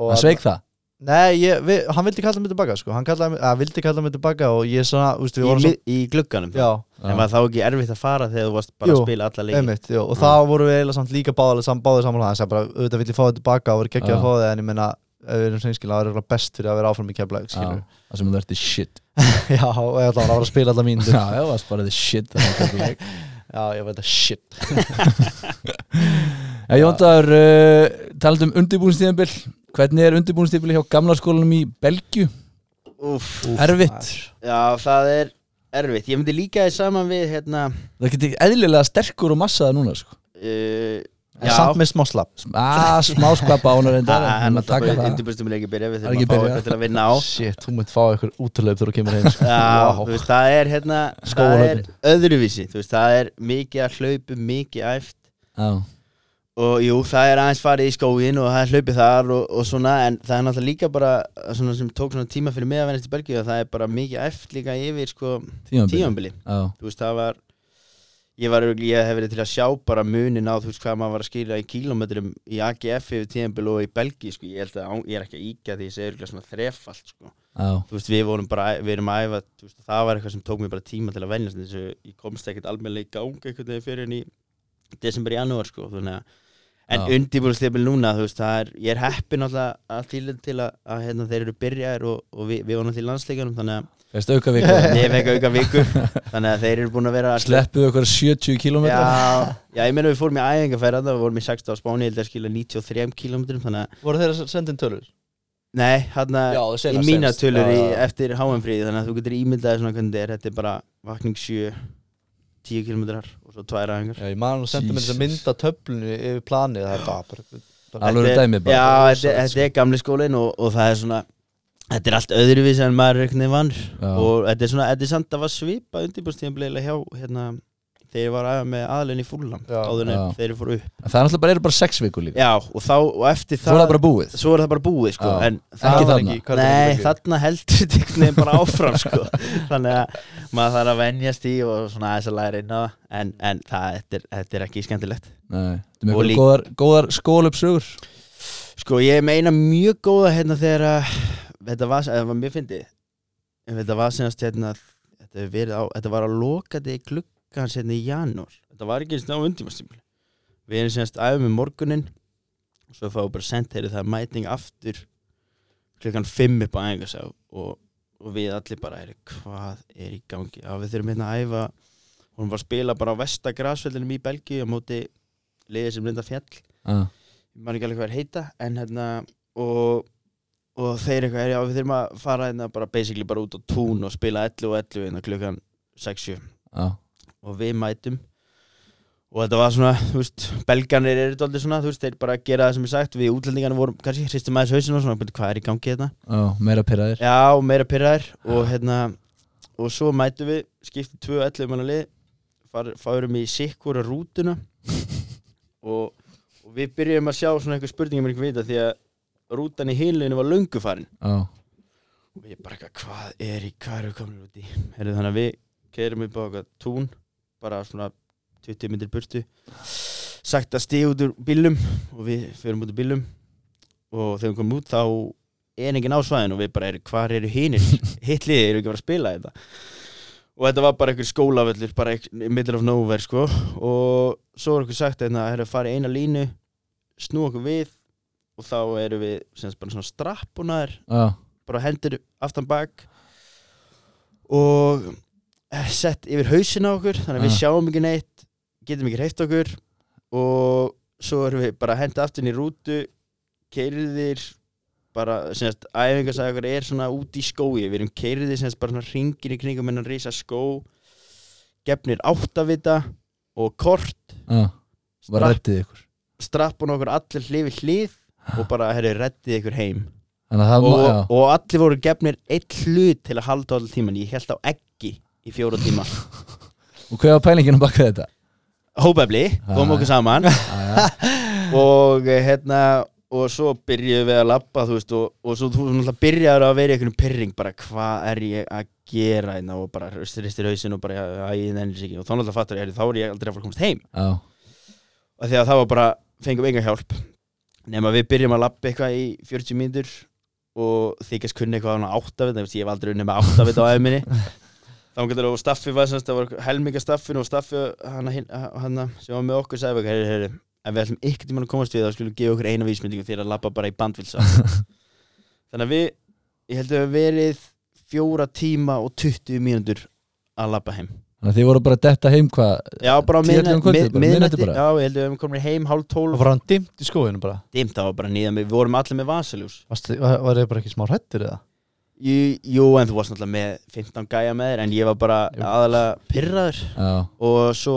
og Hann sveik það Nei, ég, við, hann vildi kalla mig tilbaka sko, hann kallaði, mig- að, vildi kalla mig tilbaka og ég svona, þú veist, í, við vorum mið, svo í glugganum Já, En var þá ekki erfitt að fara þegar þú varst bara Jú, að spila alla leiki Einmitt, jú, og Já. þá vorum við eiginlega samt líka báðið sam, báðið saman það, þess að bara auðvitað vill ég fá þetta tilbaka og voru Já. geggja að fá það en ég meina ef við erum seinskilin, það er örugglega best fyrir að vera áfram í keflæk Já, já, það sem þú ert í shit já og ég ætla að vera að spila alltaf mín Já, já, það var bara the shit þarna í Keflavík. já, ég veit að shit Já, Jóndar, uh, talandi um undirbúinstíðanbill Hvernig er undirbúinstíðanbill hjá gamla skólanum í Belgju? Úf, Erfitt já, það er erfitt Ég myndi líka þið saman við hérna Það getur eðlilega sterkur og massaða núna sko. uh, en samt með smá slapp Smá, smá skvapa ána reyndar Það er en að taka náttúrulega það. undirbúrstum leikir byrja Við Það er ekki þurfum að fá byrjað. eitthvað til að vinna á shit, þú munt fá ykkur útlöp þegar þú kemur heim sko. Já, Vá. þú veist, það er hérna Það er Skólahlaupin. öðruvísi, þú veist, það er mikið að hlaupu, mikið æft Já, og jú, það er aðeins farið í skógin og það er hlaupið þar og, og svona en það er náttúrulega líka bara svona sem tók svona tíma fyrir mig að vennast í Belgíu og það er bara mikið eft líka yfir sko tímanbill tímanbili Já, þú veist, það var ég var örugglega- ég hef verið til að sjá bara munin á þú veist hvað maður var að skila í kílómetrum í AGF yfir tímanbili og í Belgíu sko ég held að án- ég er ekki að íkja því ég segir örugglega svona þrefalt sko já, þú veist, við vorum bara, við erum að æfa þú veist, það var eitthvað sem tók mér bara tíma til að venjast þessu, ég komst ekkert almennilega í gang einhvern veginn fyrir en í desember í janúar, sko, þannig að en Já. undirbúrstipil núna, þú veist, það er ég er heppin alltaf að til, til að, að hérna, þeir eru byrjaðir og, og við, við vorum til landsleikunum, þannig að fyrst auka viku nefn ekki auka viku þannig að þeir eru búin að vera að Sleppuðu okkur 70 km Já, já, ég meina við fórum í æfingarferð þarna, við vorum í 16 á Spáni, ég held að skila 93 km þannig að, voru þeir að senda inn tölur? nei, hann Já, það í senast mína senast. tölur Já, í, já. eftir HM fríði þannig að þú getur ímyndaði svona hvernig þetta er þetta er bara vakning 7 10 kilometrar og svo tvær aðingar Já, ég man og sendi mér þess að Jesus. mynda töflunni yfir planið, það er bara, bara, bara Alveg dæmi Já, bara þetta, þetta er gamli skólin og, og það er svona þetta er allt öðruvísi en maður er einhvern veginn vann Já. og þetta er svona, þetta er samt að það var svipa undirbúrstíðanbleiðilega hjá hérna þegar ég var aðeins með aðlinn í fúllam Já. áður en Já. þeir eru fóru upp En Það er náttúrulega bara, eru bara 6 viku líka Já, og þá, og eftir Svo það er það bara búið svo er það bara búið, sko Já. en Ekki það var þarna. hvað er Nei, þetta? þarna heldur þetta einhvern veginn bara áfram sko. þannig að maður þarf að venjast í og svona aðeins að læra inn á það. en, en það, þetta, er, þetta er ekki skemmtilegt Nei, Þetta er með Og einhverjar líka- góðar, góðar skólupsögur Sko, ég meina mjög góða hérna þegar að þetta var, eða var mjög fyndið en þetta var senast hérna þetta, hefur verið á, þetta var að loka þetta í glukkans hérna í janúar þetta var ekki eins og á undimastimli við erum senast æfum um morgunin og svo fáum við bara sent þeirri það er mæting aftur klukkan 5 upp á æfingasá og, og við allir bara er, hvað er í gangi já, við þurfum hérna að æfa hún var að spila bara á vestagrasvellinum í Belgíu á móti liðið sem linda fjall Já, ég man ekki alveg hvað er heita en hérna og, og þeir eitthvað, já við þurfum að fara hérna bara basically bara út á tún og spila 11 og 11 hérna klukkan 6-7 já, og við mætum og þetta var svona, þú veist, belganir eru þetta aldrei svona, þú veist, þeir bara gera það sem er sagt við útlendingarnir vorum, kannski, hristum aðeins hausinn og svona, "Bíddu, hvað er í gangi hérna já, meira pyrraðir Já, og meira pyrraðir og hérna, og svo mætum við skiptum 2-11 manna lið far- fárum í sikkura rútuna og, og við byrjum að sjá svona einhver spurningum einhver vita því að rútan í hinleginu var löngu farin Já, og ég bara eitthvað, hvað er í, hvað eru komin út í Heru, þannig að við keirum upp á eitthvað tún bara svona 20 myndir burtu sagt að stíð út úr bílum og við fyrum út úr bílum og þegar við komum út þá er enginn á svæðinu og við bara eru, hvað eru hinir hitt liðið, eru ekki bara að spila þetta og þetta var bara einhver skólavöllur bara einhver- middle of nowhere sko og svo er okkur sagt hérna, að það fara í eina línu snú okkur við og þá eru við sem sagt bara svona strappunar já, bara hendur aftan bak og eh, sett yfir hausin á okkur þannig að við Ah. sjáum ekki neitt getum ekki hreift okkur og svo erum við bara hendur aftur inn í rútu keirðir bara, semast, æfingasæði okkur er svona út í skói, við erum keirðir semast bara svona ringin í kringum en að risa skó gefnir áttavita og kort já Var strapp, rettið ykkur strappun okkur allir hlifi hlið og bara, herri, reddið ykkur heim Þannig að það má, já og, og allir voru gefnir eitt hlut til að halda allir tíman ég held á ekki í fjóra tíma Og hvað var pælingin að baka þetta? hópefli, kom Ah. okkur saman og eh, hérna og svo byrjuðum við að labba þú veist, og, og svo þú náttúrulega byrjaður að vera í einhvern pyrring bara hvað er ég að gera hérna og bara ristir hausinn og bara að ég nefnir sér ekki og þá náttúrulega fattur ég "Heyrðu, þá er ég aldrei að fara að komast heim Já, og því að það var bara, fengum enga hjálp nema við byrjum að lappa eitthvað í 40 mínútur og þykast kunni eitthvað á áttavita, ég hef aldrei unni með áttavita á æminni þá getur og Staffi var semst, það var helminga Staffin og Staffi hana, hin- hana sem var með okkur sagði bara, heyri, heyri, en við ætlum ykkur tímann að komast við þá skulum gefa okkur eina vísmyndingu þegar að lappa bara í bandvilsa þannig að við ég held að við hafi verið fjóra tíma og 20 mínútur að labba heim Þannig að þið voru bara að detta heim hvað já, bara á Tíu, ellefu um kvöldið, mið- bara miðnætti bara. já, ég held að við hefum komin heim hálf Og tólf var hann dimmt í skóinu bara dimt það var bara nýðan, við vorum allir með vasaljús Varstu, var, var ég bara ekki smá hrættir eða? Jú, jú, en þú varst náttúrulega með 15 gæja með þér en ég var bara Jú. aðalega pyrraður Já, og svo,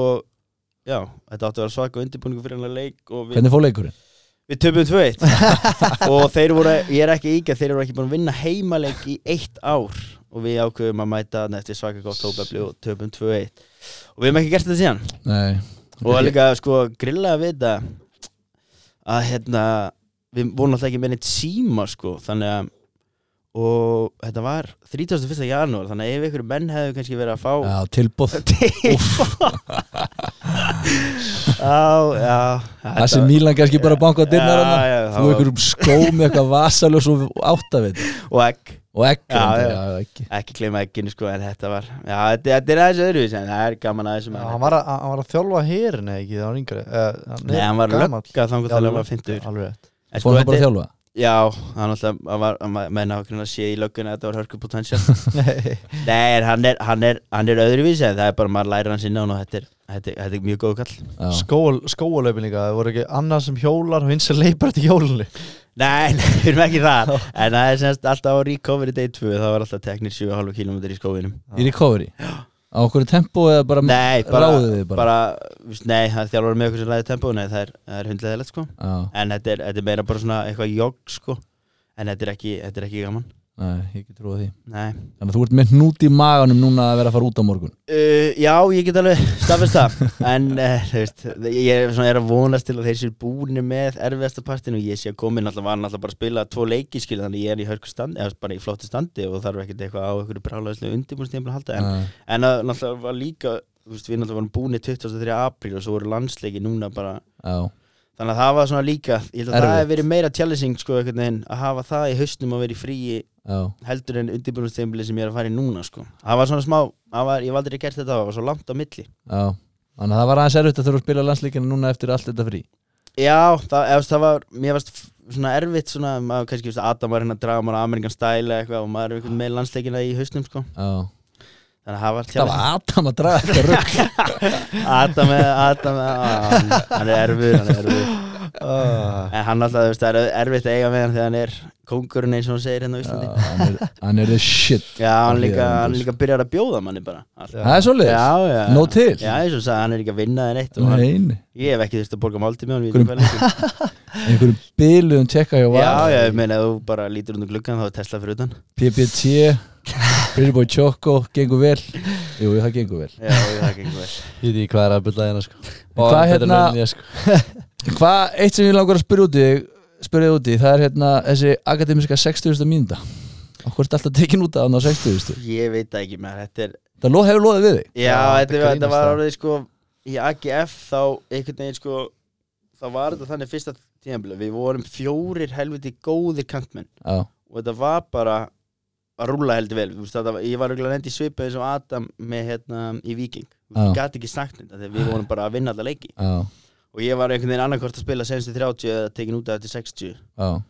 já, þetta átti að vera svaka undirbúningu fyrir hennar leik og við, hvernig fór leikurinn? við töpum 2-1 og þeir voru, ég er ekki íkja, þeir voru ekki búin að vinna heimaleik í eitt ár og við ákveðum að mæta þarna eftir svaka gott hópefli og töpum 2-1 og við hefum ekki gert þetta síðan Nei og líka sko grilla að vita að hérna við vorum alltaf ekki með neitt síma sko þannig að og þetta var 31. janúar þannig að ef ykkur menn hefðu kannski verið að fá Já, tilbúð já, já Það sem Mílan kannski bara banka að dyrna hana já, Þú já, ykkur um skó með eitthvað vasaljós og áttavit og egg, Og egg Já, reyndar, já. já, ekki ekki gleyma egginu sko en þetta var, já þetta, þetta er aðeins öðru en það er gaman aðeins Já, um hann var, að, hann var að þjálfa herin eða ekki, það var yngri uh, Nei, hann var lögga þangur Já, þegar hann lögga. var 50 Alveg rétt En sko Fór hann þetta bara að er- þjálfa Já, hann alltaf, hann var, hann var- menn hafa grunna að sé í löggunni að þetta var hörkupotential Nei, en hann er, hann er, hann er öðruvísi en það er bara maður læra hann sinna og þetta er, þetta er, þetta er mjög góð kall Já. Skóal, Skóalaupin líka, það voru ekki annar sem hjólar og hins sem leipar eftir hjólunni Nei, nei, við erum ekki það En það er semst alltaf á recovery day 2 það var alltaf teknir 7,5 km í skóinum Í recovery Á okkur tempo eða bara Nei, bara, Ráðið þið bara. bara víst, Nei, það er þjálfur með okkur sem læði tempó Nei, það er, það er hundleðilegt sko Já, En þetta er, þetta er meira bara svona eitthvað jogg sko En þetta er ekki, þetta er ekki gaman nei, ég ekki trúið því Nei Þannig að þú ert með hnút í maganum núna að vera að fara út á morgun Uh, já, ég get alveg staðfest það En uh, þú veist, ég er, svona, er að vonast til að þeir séu búinir með erfiðasta partinu Ég sé að komin alltaf var náttúrulega bara að spila tvo leiki skil Þannig ég er í hörku standi, eða bara í flóttu standi Og þarf ekkert eitthvað á einhverju brálaðislega undirbúrstíðum að halda En, Nei. en að, náttúrulega var líka, þú veist, við náttúrulega varum búinir 23. apríl Og svo voru landsleiki núna bara Já, Þannig að það var svona líka, ég held að það Erfitt. hef verið meira challenging sko einhvern veginn Að hafa það í haustnum að vera í fríi já, heldur en undirbúinustembili sem ég er að fara í núna sko. það var svona smá, það var, ég var aldrei gert þetta það var svo langt á milli já Þannig að það var aðeins erfitt að þurfa að spila landsleikina núna eftir allt þetta frí já, það, eða, það var, mér varst f- svona erfitt svona, maður kannski, veist, Adam var hérna að draga maður á Amerikan stæla eitthvað og maður er einhvern með landsleikina í hausnum sko. Já, þannig að það var það var Adam að draga þetta rugg Adam er, Adam er, á, hann, hann er erfur, hann er erfur uh, en hann alltaf, þú veist, það er erfitt að eiga með hann þegar hann er kóngurinn eins og hann segir hérna á Íslandi já, hann, er- hann er the shit hann, Hann er líka, hann erlendur. líka byrjar að bjóða manni bara allt. Það er svolítið já, já, Nóg til. já, eins og sagði, hann er ekki að vinna þér neitt og hann, Nein, Ég hef ekki þurft að borga um máltíð með Hverjum- hann Já, einhverjum byluðum tjekka hjá já, var ég meina ef þú bara lítur undir gluggan þá er Tesla fyrir utan PPT Pretty Boy Choco, gengur vel Jú, það gengur vel Já, ég það gengur vel Ég veit ekki hvað er að bylla hérna sko Hvað Bara betra hérna- laun en ég, sko. Hvað, eitt sem ég langar að spyrja út í spyrja þig út í, það er hérna þessi akademiska 60. mínúta Okkur er alltaf tekin út af hann á 60. Ég veit það ekki með þetta er Það lo- hefur loðið við þig Já, Já, þetta, þetta þetta grínast var það. árið sko Í AGF þá einhvern veginn sko Þá var þetta þannig fyrsta tíðanbila Við vorum fjórir helviti góðir kantmenn Já, Og þetta var bara að rúla heldur vel Þú veist, þetta var, Ég var auðvitað endi svipað eins og Adam með hérna í Viking Þú Já. gæti ekki sagt þetta þegar við vorum bara að vinna alla leiki já, Og ég var einhvern veginn annarkvort að spila senstu 30 eða tekin út af þetta 60 já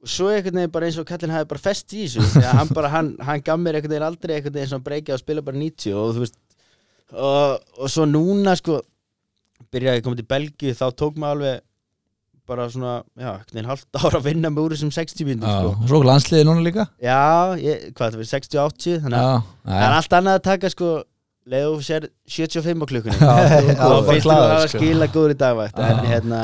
og svo einhvern veginn bara eins og kallinn hafi bara fest í þessu því að hann bara, hann, hann gaf mér einhvern veginn aldrei einhvern veginn svona breykja og spila bara 90 og þú veist og, og svo núna sko byrjaði að koma til Belgíu þá tók maður alveg bara svona, já, einhvern veginn halvt ára að vinna með úr þessum 60 Já, mínútur sko. svo okkur landsliði núna líka já, ég, hvað það verið, 60-80 þannig Já, að það já, er allt annað að taka sko leiðu sér 75 á klukkunni Já, þú ert og góður. finnst þú Glaður, það að sko. skila góður í dagvægt en Já. hérna,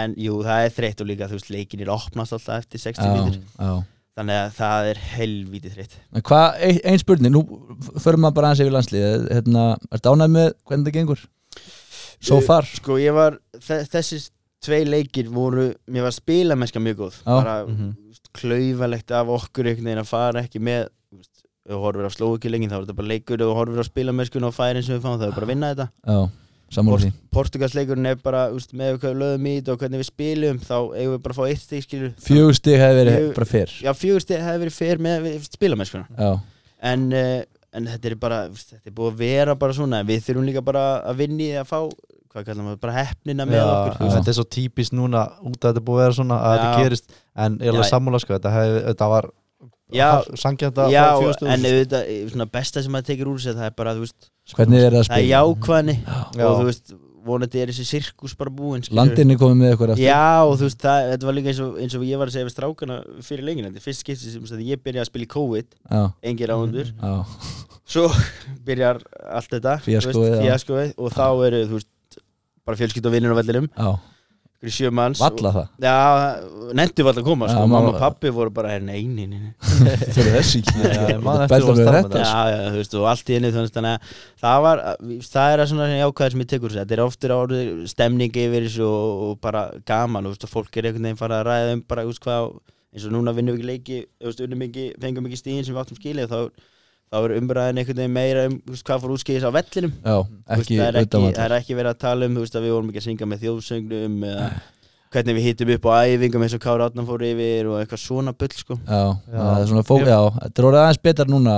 en jú, það er þreytt og líka, þú veist, leikin er opnast alltaf eftir 60 já, mínútur já Þannig að það er helvítið þreytt En hvað, ein- ein spurning, nú förum maður bara aðeins yfir landslið hérna, Er dánæð með hvernig það gengur? So Eh, far Sko ég var, þe- þessi tvei leikir voru, mér var spilamennska mjög góð Já. Mhm. Bara Mhm. klaufalegt af okkur einhvern veginn að fara ekki með þú veist, Ef þú horfir á slóu ekki lengi þá er þetta bara leikur Ef þú horfir á spilamennskun og færin sem við fáum þá er bara að vinna þetta Já, sammála því Portugalsleikurinn er bara, þú veist, með hvað við lögum í þetta og hvernig við spilum Þá eigum við bara að fá eitt stík skilur Fjögur stig hefði verið Ég- bara fyrr Já, fjögur stík hefði verið fer með við- spilamennskuna Já, en, uh, en þetta er bara þetta er búið að vera bara svona en við þurfum líka bara að vinni að fá hvað kallar maður, bara hefnina með okkur þú já, veist. Þetta er svo típist núna út að þetta er búið að vera svona að Já. þetta gerist En ég er alveg Já. sammála sko, þetta, hef, þetta var Já. sangja þetta Já, en fjóðstöðu auðvitað, eh, svona besta sem maður tekir úr sér það er bara, þú veist, Hvernig er það að það er spila? jákvæðni Já. og þú veist, vonandi er þessi sirkus bara búinn skilurðu. Landinni komið með eitthvað eftir Já, og þú veist, það, þetta var líka eins og, eins og ég var að segja við strákana fyrir leikina þetta er fyrst skipti sem sem ég byrja að spila í COVID Já, engir áhundur, já, svo byrjar allt þetta þú veist, Fíaskóið, já. fíaskóið, og þá eru, þú veist bara fjölskyld og vinnir á vellinum já ykkur sjö manns Valla það og, Já, nefndu var að koma, Já, sko, mamma- mamma og pappi voru bara hérna einin nei, nei. Fyrir þessi ekki Já, ég man Bælda eftir þú varst með að tala um þetta Já, sko. já, þú veist, og allt í henni þannig að það var, það er að svona jákvæðir sem ég tekur sér, þetta er oftur árið stemning yfir þessu og, og bara gaman, þú veist, og fólk er einhvern veginn farið að ræða um bara, þú veist, hvað, eins og núna vinnum við ekki leiki, þú veist, unnum ekki, fengum ekki stíðin sem við áttum skilið, þá, þá er umræðin einhvern veginn meira um, þú veist, hvað fór útskeiðis á vellinum, Já, Þú veist, ekki það, er ekki, auðvitað það er ekki verið að tala um þú veist, að við vorum ekki að syngja með þjóðsögnum eða hvernig við hittum upp á æfingum eins og Kára Átnan fór yfir og eitthvað svona bull sko. Já, Já. það er svona fólk Já, þetta er orðið aðeins betar núna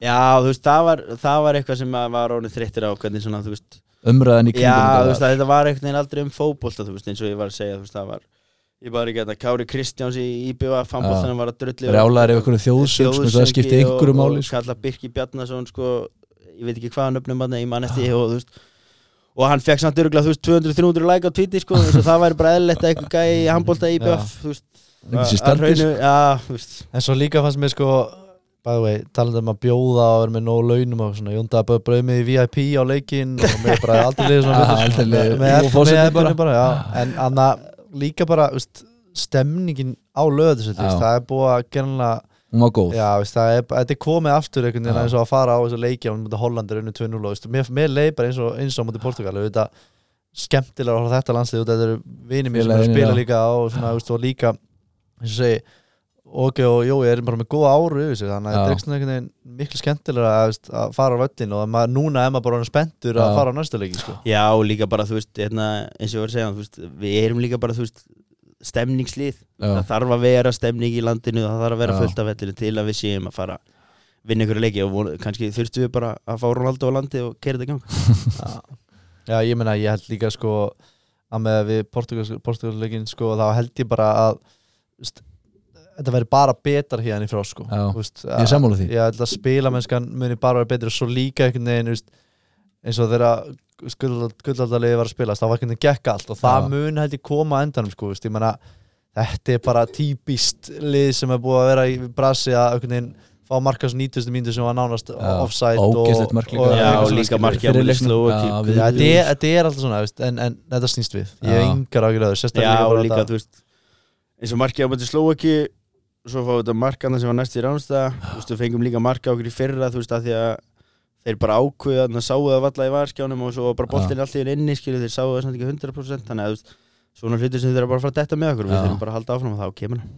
Já, þú veist, það var, það var eitthvað sem maður var orðin þreyttir á hvernig svona, þú veist Umræðan í kringum Já, þú þetta veist, að þetta var einhvern veginn aldrei um fótbolta, þú veist, eins og ég var að segja, þú veist, það var Ég bara ekki að þetta, Kári Kristjáns í IBVA, fanbóltanum var að drulli Brjálaðir yfir einhverju þjóðsöng, sko, það skipti einhverju máli, sko. Kalla Birki Bjarnason, sko, ég veit ekki hvaðan öfnum hann, ég man eftir, og þú veist Og hann fekk samt örgulega, þú veist, 200-300 like á Twitter, sko, þú veist, og það væri bara eðlilegt að einhver gæi í handbólta í IBVA, þú veist Ekki sé að- að standið, hraunu- Já, þú veist en svo líka fannst mér sko by the way, talandi um að bjóða og vera með nóg launum og svona, Jónda bara brauð mig í VIP á leikinn og mér bara aldrei liðið svona Aha, betur, sko. aldrei liðið. með, Og með, forsetinn með bara. bara. bara já. en anna, líka bara veist, stemningin á löðu Já. það er búið að gerna Hún var góð já, veist, það er, þetta er komið aftur einhvern veginn Já. eins og að fara á þessu leiki á mútið Hollandir unni 2-0 og veist, mér, mér leið bara eins og, eins og mútið Portugal þetta skemmtilega að horfa á þetta landslið út af þetta eru vinir mér sem eru að Félagarnir, spila já. líka og, svona, veist, og líka eins og segi ok og jói er bara með góða áru yfir sig þannig að Já. þetta er svona einhvern veginn miklu skemmtilega að, veist, að fara á völlin og að maður, núna er maður bara orðinn spenntur Já. að fara á næsta leiki sko. Já, og líka bara, þú veist, hérna, eins og ég var að segja, þú veist, við erum líka bara, þú veist, stemningslið. Já. Það þarf að vera stemning í landinu, það þarf að vera Já. fullt af vellinu til að við séum að fara að vinna ykkur leiki og von, kannski þurftum við bara að fá Ronaldo á landi og keira þetta í gang. Já, ég meina, ég held líka sko að með við portugalsleikin sko, þá held ég bara að veist, þetta verður bara betar hérna í frá sko Já, veist, ég er sammála því. Ég held að spila mennskan muni bara verið betri og svo líka einhvern veginn veist, eins og þegar gullaldaliði var að spila þá var einhvern veginn gekk allt og það Já. mun held ég koma að endanum sko veist, ég meina, þetta er bara típist lið sem er búið að vera í brasi að einhvern veginn fá markast 90. mínútu sem var nánast Já, offside og- ógeðslegt mark líka. og- Já, Já, eitthvað og svona, líka skilurðu. markið á Fyrir múli leiknum. Slovakíu. Já, Já, við- þetta er, þetta er alltaf svona, veist, en, en þetta snýst við Ég Já. hef yngar ágjur að þau, Já, sérstaklega og bara líka, þetta- þú veist, eins og markið á múli Slovakíu, svo fáum við þetta markana sem var næst í ránstæða, þú veist, við fengum líka marka okkur í fyrra, þú veist, að því að þeir bara ákveða, þannig að sáu það valla í varskjánum og svo var bara boltinn alltaf inn inni, skilju, þeir sáu það samt ekki 100%, þannig að, þú veist, svona hlutir sem þeir eru bara að fara að detta með Já. okkur, við þurfum bara að halda áfram og þá kemur hann.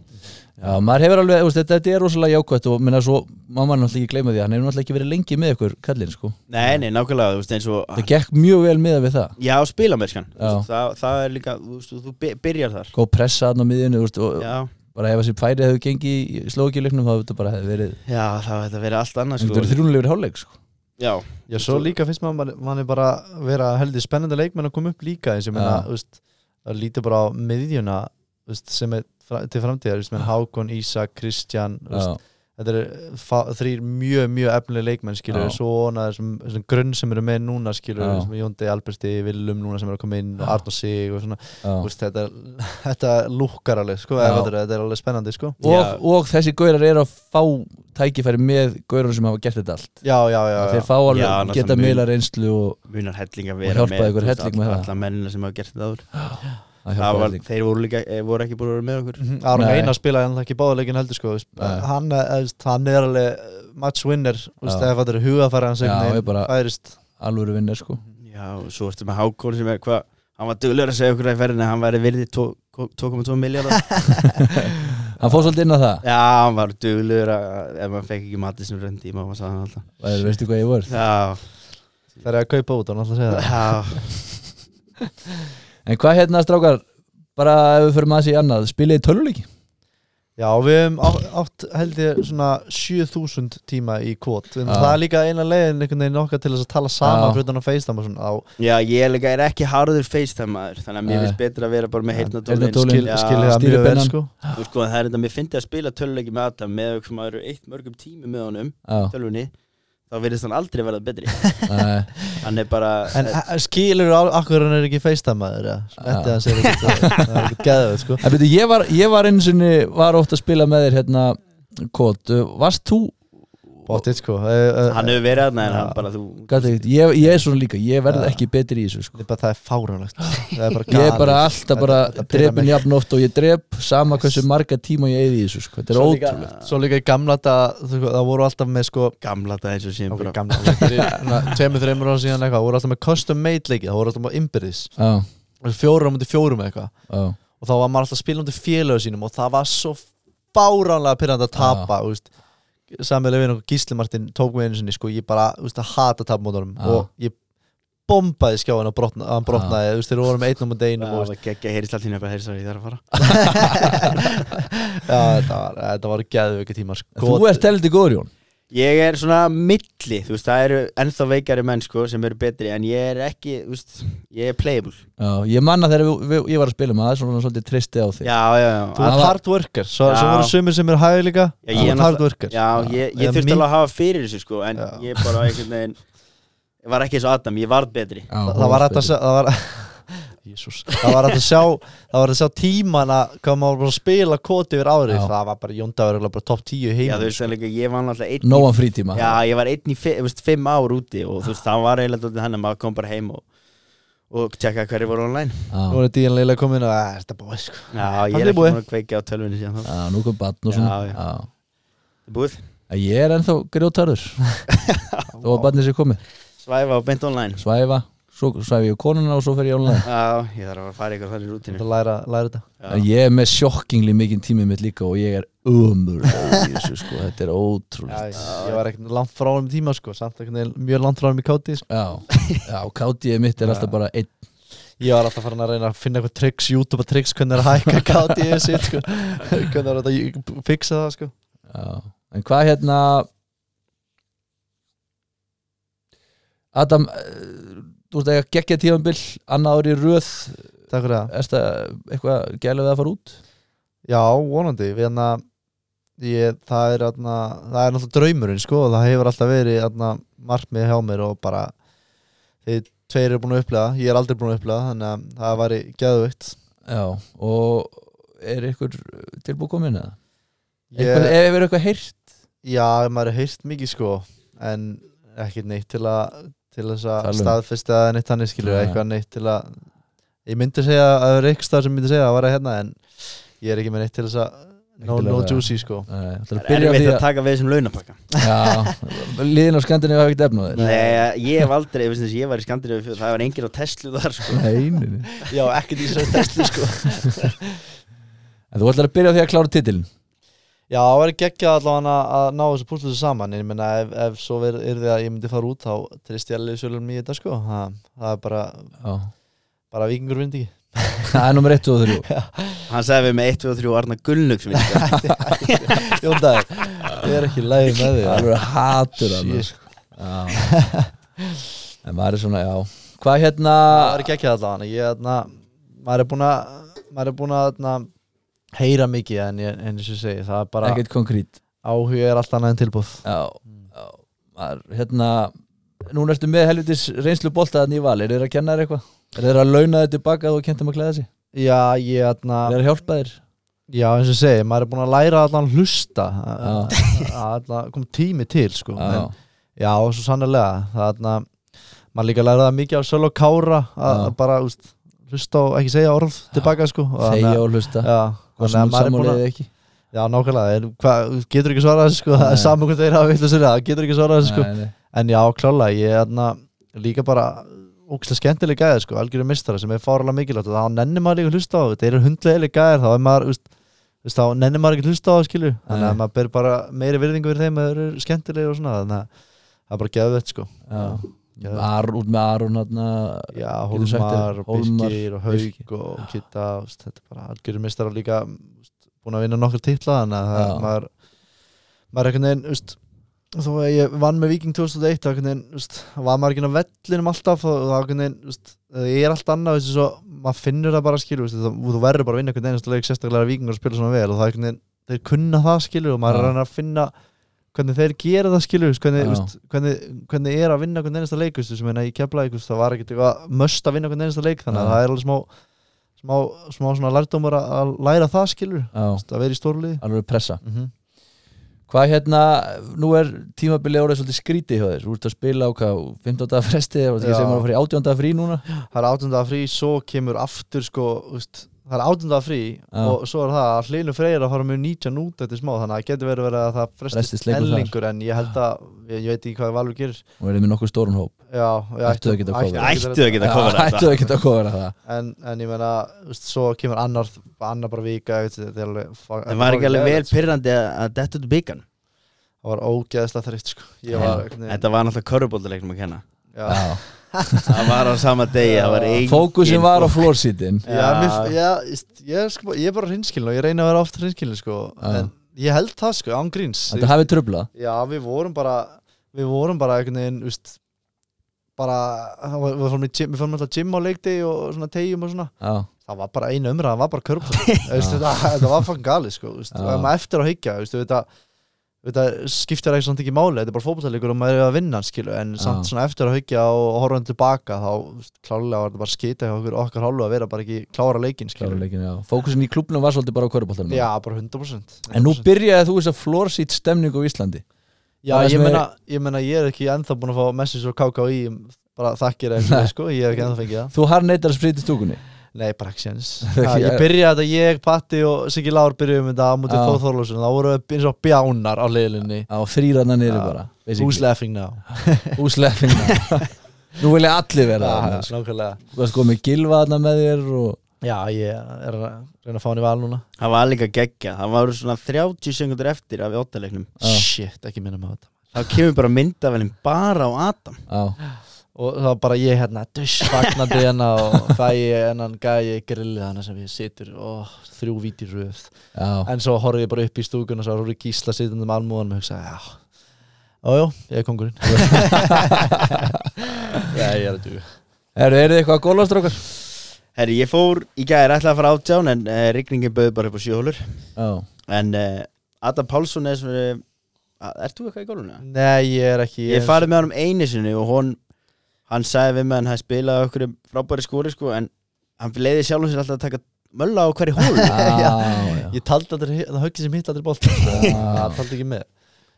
Já, maður hefur alveg, þú veist, þetta, þetta er rosalega jákvætt og minna svo, maður er náttúrulega ekki gleyma því að hann hefur náttúrulega ekki verið lengi með ykkur kallinn, sko Nei, nei, nákvæmlega, þú veist, eins og, Það gekk mjög vel með við það já, spilamerskan, Já. það, það er líka, þú veist, þú by- byrjar þar, Góð pressa hann á miðjunni, þú veist, og já, bara ef þessi færi hefur gengið í slókileiknum þá hefur þetta bara hefði verið já, það var þetta verið allt annað, Þetta verið sko, þrjúnulegur hálfleik, sko já, Já, svo líka finnst maður, mann er bara vera heldur spennandi leikmenn að koma upp líka eins og ég meina, Já. þú veist, að líti bara á miðjuna, þú veist, sem er fra- til framtíðar, þú veist, menn Hákon, Ísak, Kristján, þú veist, Já, þetta eru fa- þrír mjög, mjög efnileg leikmenn, skilur, Já. svona þessum, þessum grunn sem eru með núna, Já. skilur, sem Jóndi Alberti, Willum núna sem eru að koma inn og Arnó Sig og svona, þú já. veist, þetta, þetta lúkkar alveg, sko, Já. eða þetta er- þetta er alveg spennandi, sko. Og, og þessi gaurar eru að fá tækifæri með gaurar sem hafa gert þetta allt Já, já, já, já. Þeir fá alveg, Já, náttúrulega geta mun. miðla reynslu og munar helling að Og vera hjálpaði ykkur þú veist, helling með alla- það. alla mennina sem hafa gert þetta áður, að það hjálpa var, helling. þeir voru líka, eh, voru ekki búin að vera með okkur, Mhm, Aron Nei. Einar spilaði hann ekki báðuleikin heldur sko, veist. Nei. hann, er- eða, veist, hann er alveg match winner veist, Já. ef þetta er hugafæri hans Já, einhvern veginn Mm. ég bara- færist Alvöru vinnar, sko já, og svo ertu með Hákon sem er, hvað, hann var duglur að segja okkur að ferðinni, að hann væri virði 2,2 miljardar, Hann fór svolítið inn á það, já, hann var duglur að, ef maður fekk ekki matið sem röndi í maður, maður sagði hann alltaf, Væri- veistu hvað ég voru já, það er að kaupa út hann alltaf segja það já, En hvað hérna, strákar, bara ef við förum aðeins í annað, spilið í töluleiki Já, við höfum á- átt held ég svona 7000 tíma í kvot en Já. það er líka eina leiðin einhvern veginn okkar til þess að tala saman Já. fyrir þannig að FaceTime og svona á Já, ég er líka er ekki harður FaceTime maður Þannig að mér Nei. finnst betra að vera bara með heyrnatólin Heyrnartólin. skil, Já. skilja það mjög vel Stýripennan. sko Þú sko, það er þetta, mér finnst ég að spila töluleiki með Adam með að maður eru eitt mörgum tími með honum Já, tölvunni, þá verðist hann aldrei verða betri nei, Hann er bara En eh, skilur þú akkur hann er ekki FaceTime-aður Þetta hann segir ekki Það er ekki geðið sko En byrju, ég var, ég var eins og var ofta að spila með þér hérna Kót, Uh, varst þú Bóttið sko eh, eh, hann hefur verið hann, en Já. hann bara þú gat ekkert, ég, ég er svona líka, ég verð Já. ekki betri í þessu sko. Þetta er bara það er fáránlegt Það er bara Ég er bara galið. alltaf bara Þetta- þetta pirrar mig. drepin jafn oft og ég drep sama hversu marga tíma ég eigi í þessu sko. Þetta er Svo líka- ótrúlegt Svo líka í gamla þetta Það voru alltaf með sko gamla þetta eins og séum Ok, bara gamla Tveimur, þreimur ára síðan eitthvað voru alltaf með custom made leikið Það voru alltaf með innbyrðis Já, Fjórum mútið fjórum eitthvað já, og þá var maður alltaf að spila um til félög sínum og það var svo báránlega pyrrandi að Ah. tapa þú veist, samilega við og Gísli Martin tók mig einu sinni sko, ég bara þú veist, að hata tapa mótunum Já. og ég bombaði skjáin og brotna, hann Ah. brotnaði þú veist, þeir voru með einn á móti einum og, það geggja heyrist allt hérna bara heyrist að ég þarf að fara já, þetta var, þetta var geðvöki tímar sko. Þú ert heldur góður Jón ég er svona milli, þú veist, það eru ennþá veikari menn sko sem eru betri en ég er ekki, þú veist, ég er playable Já, ég manna þegar við, við, ég var að spila með það er svona svolítið tristi á þig já, já, já, þú Það ert var- hard worker svo, svo Já. voru sumir sem eru hægir líka Já, þú ég er ert hard worker já, ég, Eða ég þurfti mín- alveg að hafa fyrir þessu sko en Já. ég bara einhvern veginn ég var ekki eins og Adam, ég varð betri Já, Þa- þú það var varst hægt að sjá betri. það var Jesus. það var hægt að sjá það var hægt að sjá tímana hvað maður var að spila koti yfir árið Já. það var bara Jóndagur bara top 10 já, heim þú veist, en líka, ég var sko. náttúrulega einn í- Nóan frítíma já, ég var einn í fi- þú veist, fimm ár úti og þú veist, það var eiginlega dálítið þannig að maður kom bara heim og, og tjekka hverju voru online nú já, er Dílan Leila komin og "Ah, þetta er búið sko já, ég er Hann er ekki búið. búin að kveika á tölvunni síðan þá já, nú kom batn og svona Já, já. já. búið, En Ég er ennþá grjótarður Þó að barnið sér komið svæfa og beint online Svæfa, svo svæfi ég konuna og svo fer ég online já, ég þarf að fara ykkur þannig þetta rútinu er læra, læra þetta En Ég er með sjokkingli mikinn tímið mitt líka og ég er umur sko. Þetta er ótrúlegt ég var ekkert langt frá um tíma sko samt ekkert mjög langt frá um í koti sko. Já, já kátiðið mitt er alltaf bara einn ég var alltaf farin að reyna að finna eitthvað tricks YouTube tricks hvernig er að hækka koti ég sitt sko hvernig er þetta að fixa það sko já. En hvað hérna Adam eh, Þú veist ekki að gegja tífambil annað ári röð takk fyrir það Er þetta eitthvað gælu við að fara út? já vonandi við hann að Ég, það, er, atna, það er náttúrulega draumurinn sko, og það hefur alltaf verið atna, markmið hjá mér og bara þið tveir eru búin að upplega, ég er aldrei búin að upplega þannig að það væri geðvögt Já, og er ykkur tilbúið komin eða? Eitthvað, ef hefur eitthvað heyrt Já, maður hefur heyrt mikið sko en ekkert neitt til að til þess Tala að um. staðfesta eða neitt þannig skilur Nei. eitthvað neitt til að ég myndi segja að það er eitthvað stað sem myndi segja að vara hérna en ég er ekki með neitt til þess að no, Ekki til að no vera. juicy sko Nei, ætlarðu að Það er byrja á erfitt því að taka við þessum launapakka Já, liðin á skandinu hafa ekkert efn á þér Nei, ég hef aldrei, ég, ég var í Skandinavíu fjöld Það var enginn á Tesla þar sko. Nei, nei, nei. Já, ekkert í þess að testu sko En þú ætlar að byrja á því að klára titilin Já, það væri geggjað allavega að, að ná þessu púslu saman en ég meina ef, ef svo verð, er því að ég myndi fara út þá trist ég alveg svolum í þetta sko það, það er bara, Já. bara vikingur vind ekki Það er nummer 1 og 3 Hann sagði við með 1, 2 og 3 Arna Gunnlug sem ég Jóndagur, ég er ekki lægi með því Alveg hatur hann Shit. sko. Já En maður er svona, já Hvað hérna það er ekki ekki allavega ég, þarna, maður er búin að maður er búin að þarna, heyra mikið en, ég, en eins og ég segi það er bara Ekkert konkrét áhuga er allt annað en tilbúð Já, Mm. já maður, Hérna Núna ertu með helvitis reynslu boltaðan í val Er þeir að kenna þér eitthvað? Er þeir að launa þér tilbaka að þú kentum að klæða sig? já, ég, þarna, Er þeir að hjálpa þér? já eins og ég segi maður er búin að læra allan hlusta að Já, allan kom tími til sko. já, en, já svo sannlega það er þarna, maður líka læra það mikið á Söl og Kára að Já. að bara úst, hlusta og ekki segja orð tilbaka sko. þegja og hlusta já, Hvað þannig að sem maður er búin að samúlega ekki Já, nákvæmlega, en hvað, getur ekki svarað þessu, sko, það er Nei. saman hvernig þeir hafa vilt að sér það, getur ekki svarað þessu, sko Nei, nei. En já, klálega, ég er þarna líka bara ógæslega skemmtileg gæðir, sko, algjörum mistara sem er fáralega mikilvægt og þá nennir maður líka að hlusta á það, þeir eru hundlega gæðir, þá er maður, þú veist, þú veist, þá nennir maður ekki að hlusta á það, skilju Þannig Nei. að maður ber bara meiri virðingu fyrir þeim að þeir eru skemmtileg og svona, þannig að það er bara geðvett, sko Já. Já. Ar, út með Aron hérna Já, Getur sagt þér, Hólmar og Hólmar, Birgir og Birkir. Haug og Kitta, þú veist, þetta er bara algjörum mistara líka, þú veist, búin búin að vinna nokkur titla þannig að það- Já. maður maður er einhvern veginn úst, þó að ég vann með Viking 2001 þá einhvern veginn, úst, var maður ekki inn á vellinum alltaf og þá einhvern veginn, úst, ég er allt annað þessi, svo, maður finnur það bara skilur úst, þú, þú verður bara að vinna einhvern veginn leik sérstaklega að Vikingur spila svona vel og það er einhvern veginn þeir kunna það skilur og maður Já. er að reyna að finna hvernig þeir gera það skilur úst, hvernig, Já. úst, hvernig, hvernig er að vinna hvernig einasta leik úst, sem er í keflaðik úst, það var ekkert eitthvað möst að vinna hvernig einasta leik þannig Já. að það er alveg smá smá, smá svona lærdómur að- að læra það skilur Já, að vera í stórlið alveg pressa mm -hmm. Hvað hérna, nú er tímabilið árið svolítið skrítið hjá þér Þú ert að spila á hvað, 15 dagar fresti Það var ekki Já. sem að fara í 18 dagar frí núna það er átjönda frí, svo kemur aftur sko, úst, það er átjönda frí Já. og svo er það að hlinu freyra að fara með 19 út eftir smá, þannig að það getur verið verið að það Frestist frestist leikur þar. ellingur en ég held að, ég, ég veit ekki hvað Valur gerir Nú erum við nokkuð stórun hóp já, ég Ættu að geta coverað. Ættu að geta Já, komið Ættu að geta að kofra það en, en ég meina, úst, svo kemur annar annar bara vika, veit, þetta er alveg fuck- Það var ekki alveg vel það pyrrandi að detta út í byggan var ógeðslega þreytt sko ég Já. var, einhvern veginn- Þetta var náttúrulega körubólduleiknum að kenna já, Það var á sama degi, það var engin Fókusin var á flórsítin já, mér, já íst, ég, er sko, ég er bara hinskilin og ég reyna að vera oft hinskilin sko, Já. en ég held það sko, án gríns Þetta hafi tröfla Já, við vorum bara við vorum bara einhvern veginn úst, bara, það var- við fórum í gym- við fórum alltaf gym á leikdegi og svona tegjum og svona Já, það var bara einu umræða, það var bara körp þetta, þetta var fann gali sko, úst, Já. og ef maður eftir að higgja úst, þetta, þetta skiptir ekki samt ekki máli þetta er bara fótbollalegur og maður er að vinna hann, skilu, en samt Já. svona eftir að higgja og horfa hann tilbaka þá úst, klálega var þetta bara skita hjá okkur, okkar hálfu að vera bara ekki klára leikinn skilu. klára leikin, já Fókusin í klubnum var svolítið bara á körubóltanum já, bara 100%, 100%. En nú byrjaði þú þess að flórsít stemning á Íslandi Já, Það er ég sem er- meina, ég meina, ég er ekki ennþá búin að fá message frá KKÍ um bara þakkir eða eitthvað, sko, ég hef ekki ennþá fengið það Þú har neitar að spriti stúkunni Nei, bara ekki séns Ekki, Ha, Ég ja. byrjaði þetta, ég, Patti og Siggi Lár byrjuðum þetta á mútið Já. Þóð Þorlósun það voru eins og bjánar á leilinni Á þrýranna niður Já. bara basically. Húsleffing ná Húslepping Nú vilja allir vera þarna, sko. Nákvæmlega Þú varst komið gilvaðna með þér og... Já, ég er að reyna að fá hann í val núna Það var líka geggja, það var svona 30 sekundur eftir af óttaleiknum Já. Shit, ekki minna með þetta Þá kemur bara myndavælinn bara á Adam Já, Og það var bara ég hérna, dusch, fagnandi hérna og fæ ég hennan gæi grillið hana sem ég situr og þrjú vítir röð já, En svo horfði ég bara upp í stúkun og svo voru gísla sitjandi með almúðanum og hugsaði, já, ójó, ég er kongurinn. já, ég er að duga. Eru er þið eitthvað að gólast okkar? Herri, ég fór í gæri ætlaði að fara átján en uh, rigningin bauði bara upp á sjöhólur Já, En uh, Adam Pálsson er svona uh, Ert þú eitthvað í gólunni? eða? Nei, ég er ekki. Ég farið með honum einu sinni og hon, hann sagði við mig að hann hafði spilað okkur frábæri skóri sko en hann leiði sjálfum sér alltaf að taka mölla á hverju hól já, já. Ég taldi aldrei, það höggið sem hitt aldrei bólt. það taldi ekki með.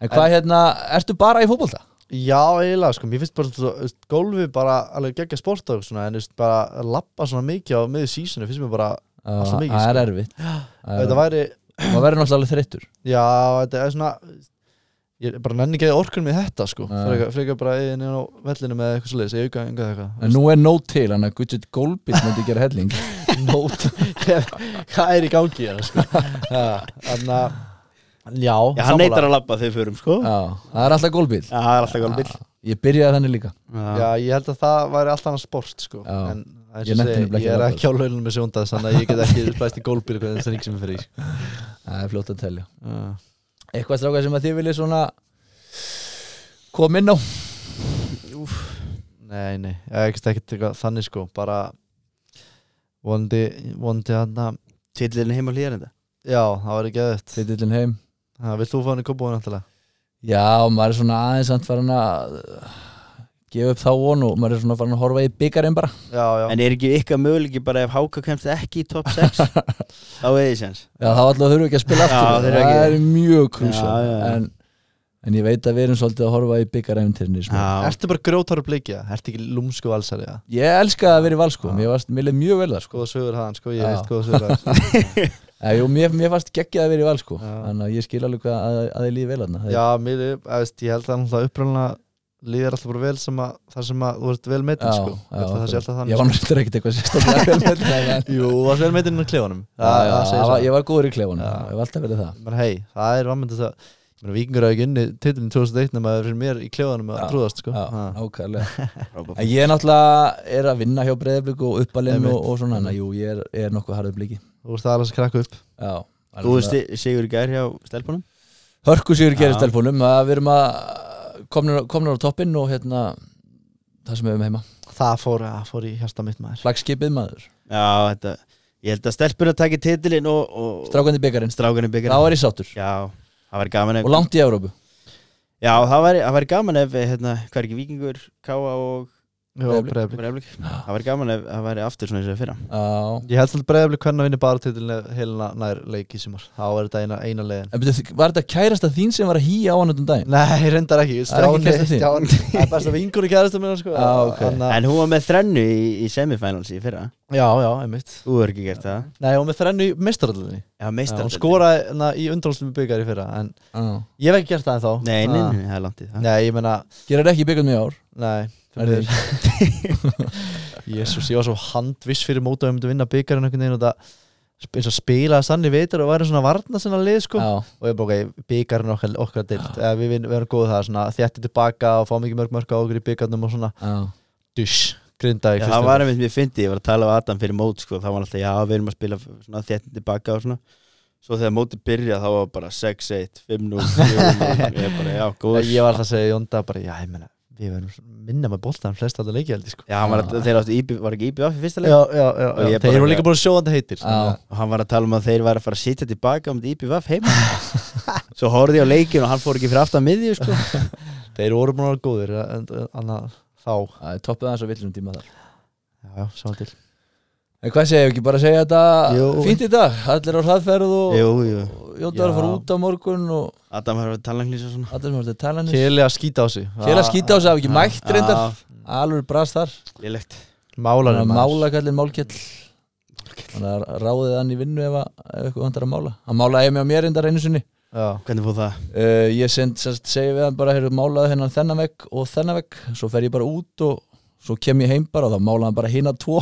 En hvað hérna, ertu bara í fótbolta? Já, eiginlega, sko, mér finnst bara, þú veist, gólfi bara alveg geggja sport og svona, en, þú veist, bara að lappa svona mikið á miður sísonu, finnst mér bara, Já, Alltaf mikið, Það er sko. erfitt Það er- þetta væri, Maður verður náttúrulega alveg þreyttur já, þetta er svona, ég bara nenni ekki orkunum í þetta, sko, Nei. frekar, frekar bara einu á vellinu með eitthvað svoleiðis, ég auka enga eitthvað. En nú er nót til, hann að Gudget Golbit myndi gera helling nót hvað er í gangi hérna, sko. Já, þannig að já, Já, hann neytar að labba þegar við förum sko Já, Já, það er alltaf golbit það er alltaf gólbill Ég byrjaði þannig líka já, ég held að það væri allt annað sport sko. Já. en eins og Ég nennti segi, nefnilega ekki ég að er labba. ekki á launum með sjóndað þannig að ég get ekki splæst í gólbíl hvernig það ring sem er fyrir sko. Það er fljótt að telja Já. Eitthvað strákað sem að þið viljið svona koma inn á nei, nei, ég get ekki eitthvað þannig sko, bara vonandi, vonandi hann að Tillirinn heim á hlýjarenda já, það væri geðvægt Titillin heim vilt þú fá hann í kópúin náttúrulega Já, maður er svona aðeins samt farin að uh, gefa upp þá von og maður er svona farin að horfa í byggarinn bara já, já, En er ekki ykkar möguleiki bara ef Háka kemst ekki í top 6 þá er þið séns Já, þá alltaf þurfum við ekki að spila Já, aftur þeir eru Það ekki- er mjög krúsa Já, já, já. en, en ég veit að við erum svolítið að horfa í sko. byggaræntirni Já, ertu bara grjótar og bleikja ertu ekki lúmsku valsari ja? Ég elska að vera í valskum, ég varst, mér leið mjög vel það sko. góða sögur hann, sko, ég Já. veist góða sögur hann Eh, jú, mér, mér varst geggjað að vera í valsku Já. Þannig að ég skil alveg hvað að, að þið líði vel þarna Það er- Já, mér, er- að veist, ég held að náttúrulega upprænlega líður alltaf bara vel sem að, þar sem að þú ert vel meitinn sko. Ég held að það sé Ég alltaf þannig var náttúrulega ekkert eitthvað sérstaklega vel með þetta, en- sko. Jú, þú varst vel meitinn á klefunum Já, já, það var- Ég Ég var góður í klefunum, Já. ég var alltaf verið það menn hei, það er vammyndið það Ég meina, Víkingur hafa ekki unni titlinn 2001 nema það er fyrir mér í klefunum að Já, trúðast sko. Já, Ha. ákvæðlega frábært. En ég er náttúrulega er að vinna hjá breyðablík og uppalinn Einmitt. og, og svona, þannig að jú, ég er, er nokkuð harðið blíki Þú ert aðalast að krakka upp Já, Góðu sti- sigur í gær hjá stelpunum hörku sigur gerir Já. stelpunum að við erum að komnir, komnir á toppinn og hérna það sem við erum heima, Það fór, það fór í hérsta mitt maður flagskipið maður Já, þetta Ég held að stelpuna taki titilinn og, og strákandi byggarinn, strákunum þá byggja er ég sáttur Já, það væri gaman ef og langt í Európu, Já, það væri, það væri gaman ef hérna, hvað er ekki vikingur, káa og Jó, Breiðablik. Breiðablik. breflik Það væri gaman ef það væri aftur svona eins og fyrra já Ég held samt breyðablik hvernig að vinna bara til heilina nær leik í sumar Þá er þetta eina, eina leiðin En byrju, var þetta kærasta þín sem var að hýja á hann um daginn? Nei, reyndar ekki Það er ekki Stjáni- kærastan þín? Stjáni- Það er best að vingur í kærastu minna sko. Já, ok. Þannig að- En hún var með þrennu í, í semifinals í fyrra Já, já, einmitt Þú er ekki gert það Nei, og með þrennu í meistarallinni Já, Hún meistar skoraði na, í undrálslum byggar í fyrra En Já. ég hef ekki gert það en þá Nei, nei, nei, nei, það er langt í það Ah. Nei, ég meina, Gerir ekki byggandum í ár? nei Er þér? Jésús, ég var svo handviss fyrir mót að við myndum vinna byggarinn einhvern veginn og það eins og spilaði sann í vitur og væri svona varna sinna lið sko Já, og ég bara ok, byggarinn okkar, okkar dild eða við, vin- við erum góð það, svona þjætti tilbaka og fá mikið mörg mörg á okkur í byggarnum og svona já, dusch, grinda Já, það var einmitt mér fyndi, ég var að tala af Adam fyrir mót sko, þá var alltaf, já, við erum að spila svona þéttin tilbaka og svona Svo þegar mótið byrja þá var bara 6-1, 5-0, 4-0 Ég bara, já, góður ég var alltaf að segja Jónda bara, já, ég meina, við verðum svona minna með boltan flest alltaf leikið held ég sko Já, hann var, að- þeir áttu íbjöf, var ekki íbjöf í fyrsta leik já, já, já, Og ég já. bara- þeir eru líka búin að sjóðandi heitir já, og hann var að tala um að þeir væri að fara að sitja tilbaka um þetta IPVF heima svo horfði ég á leikin og hann fór ekki fyrir aftan miðju sko. þeir voru búin að vera góðir en, en, annað, þá, það er toppið aðeins á villum tíma þar já, já, sjá til En hvað segja, ekki bara að segja þetta Jú. fínt í dag, allir á hraðferð og, jú, jú. og Jóta var að fara Já. út á morgun og Adam var að tala um hlýsa svona allir sem var til talanir Kjell, Keli að skýta á sig Kjell að skýta á sig, hafa ekki mætt reyndar Já, Alveg brast þar, lélegt Málar mála kallinn málkjell Þannig að ráðið hann í vinnu ef, að- ef eitthvað hann er að mála Hann málaði mig á mér reyndar einu sinni Já, hvernig fóð það? Uh, ég send, sest, segi við hann bara heyrðu, málaðu hennan þennan vekk og þennan vekk svo fer ég bara út og svo kem ég heim bara og þá málaði hann bara hina tvo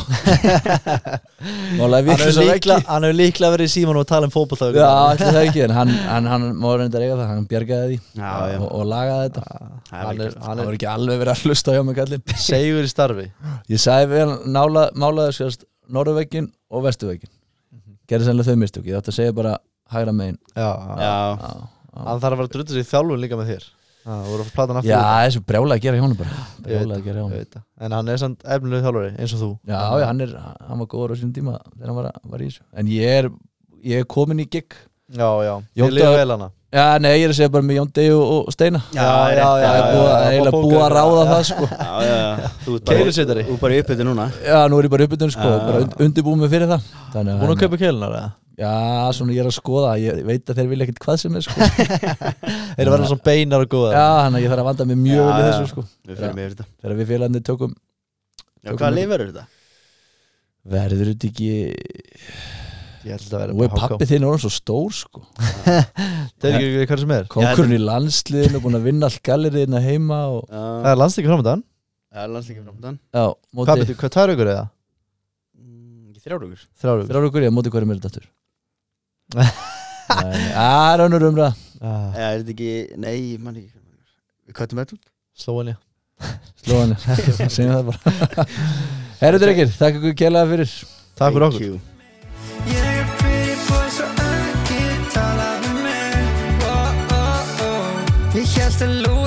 málaði hann við hefur líkla- hann hefur líklega verið í síman og tala um fótboll já, allir það ekki en hann, hann, hann má reyndar eiga það, hann bjargaði því Já, já. og, og lagaði þetta Það er hann vel er, gert. hann það er var ekki alveg verið að hlusta hjá mig kallinn segur í starfi ég sagði við hann nála, málaði skjast norðuvekkin og vesturvekkin Mhm. gerði sennilega þau mistök, ég átti að segja bara hægra megin já, já, já, já. hann þarf að vera druttur sér í þjálfun líka með þér Já, þú voru að plata hann já aftur þessu brjálega að gera hjá hann bara Ég veit brjálega að gera hjá hann Ég veit það. en hann er samt efnilegu þjálfari eins og þú Já, já, hann, er, hann var góður á sínum tíma þegar hann var, var í þessu En ég er, ég er komin í gig já, já, Jón ég lifa Dagur- vel hana Já, nei, ég er að segja bara með Jón Degi og, og Steina Já, já, Það er búið að- já, eiginlega bóka- búið að ráða það sko já, já, já. þú ert Keilusitari. bara, þú ert bara í uppbyttu núna Já, nú er ég bara uppbytun sko, Já. bara und, undirbúið mig fyrir það Þannig búin að hérna, kaupa keilunar eða? Já, svona ég er að skoða, ég veit að þeir vilja ekkert hvað sem er sko þeir eru verið svona beinar og góða Já, þannig að ég þarf að vanda mig mjög Já, vel í já. þessu sko við fyrir mig yfir þetta Þegar við félagandi tökum já, hvaða lið verður þetta? Verður þetta ekki ég held að vera Nú er pappi þinn orðan svo stór sko þeir eru ekki hvað sem er Konkurinn í landsliðinu, búin að vinna all galleriðina heima og, það já, er landstíkur framöndan það er landslingi framdann Já, hvað móti betur, hvað tæru ykkur eða? Mm, ekki þrjárugur þrjáru ykkur Þrjár okkur ég, móti hverjum er þetta aftur? Nei, Það er önnur umræða Ah, eða er þetta ekki, nei, mann ekki við kvættum þetta út slóinja Slóðan, segjum það bara Herru drengir, þakka ykkur kjærlega fyrir takk fyrir okkur Ég er pretty boy svo ekki tala við mig oh, oh, oh. Ég held að lúa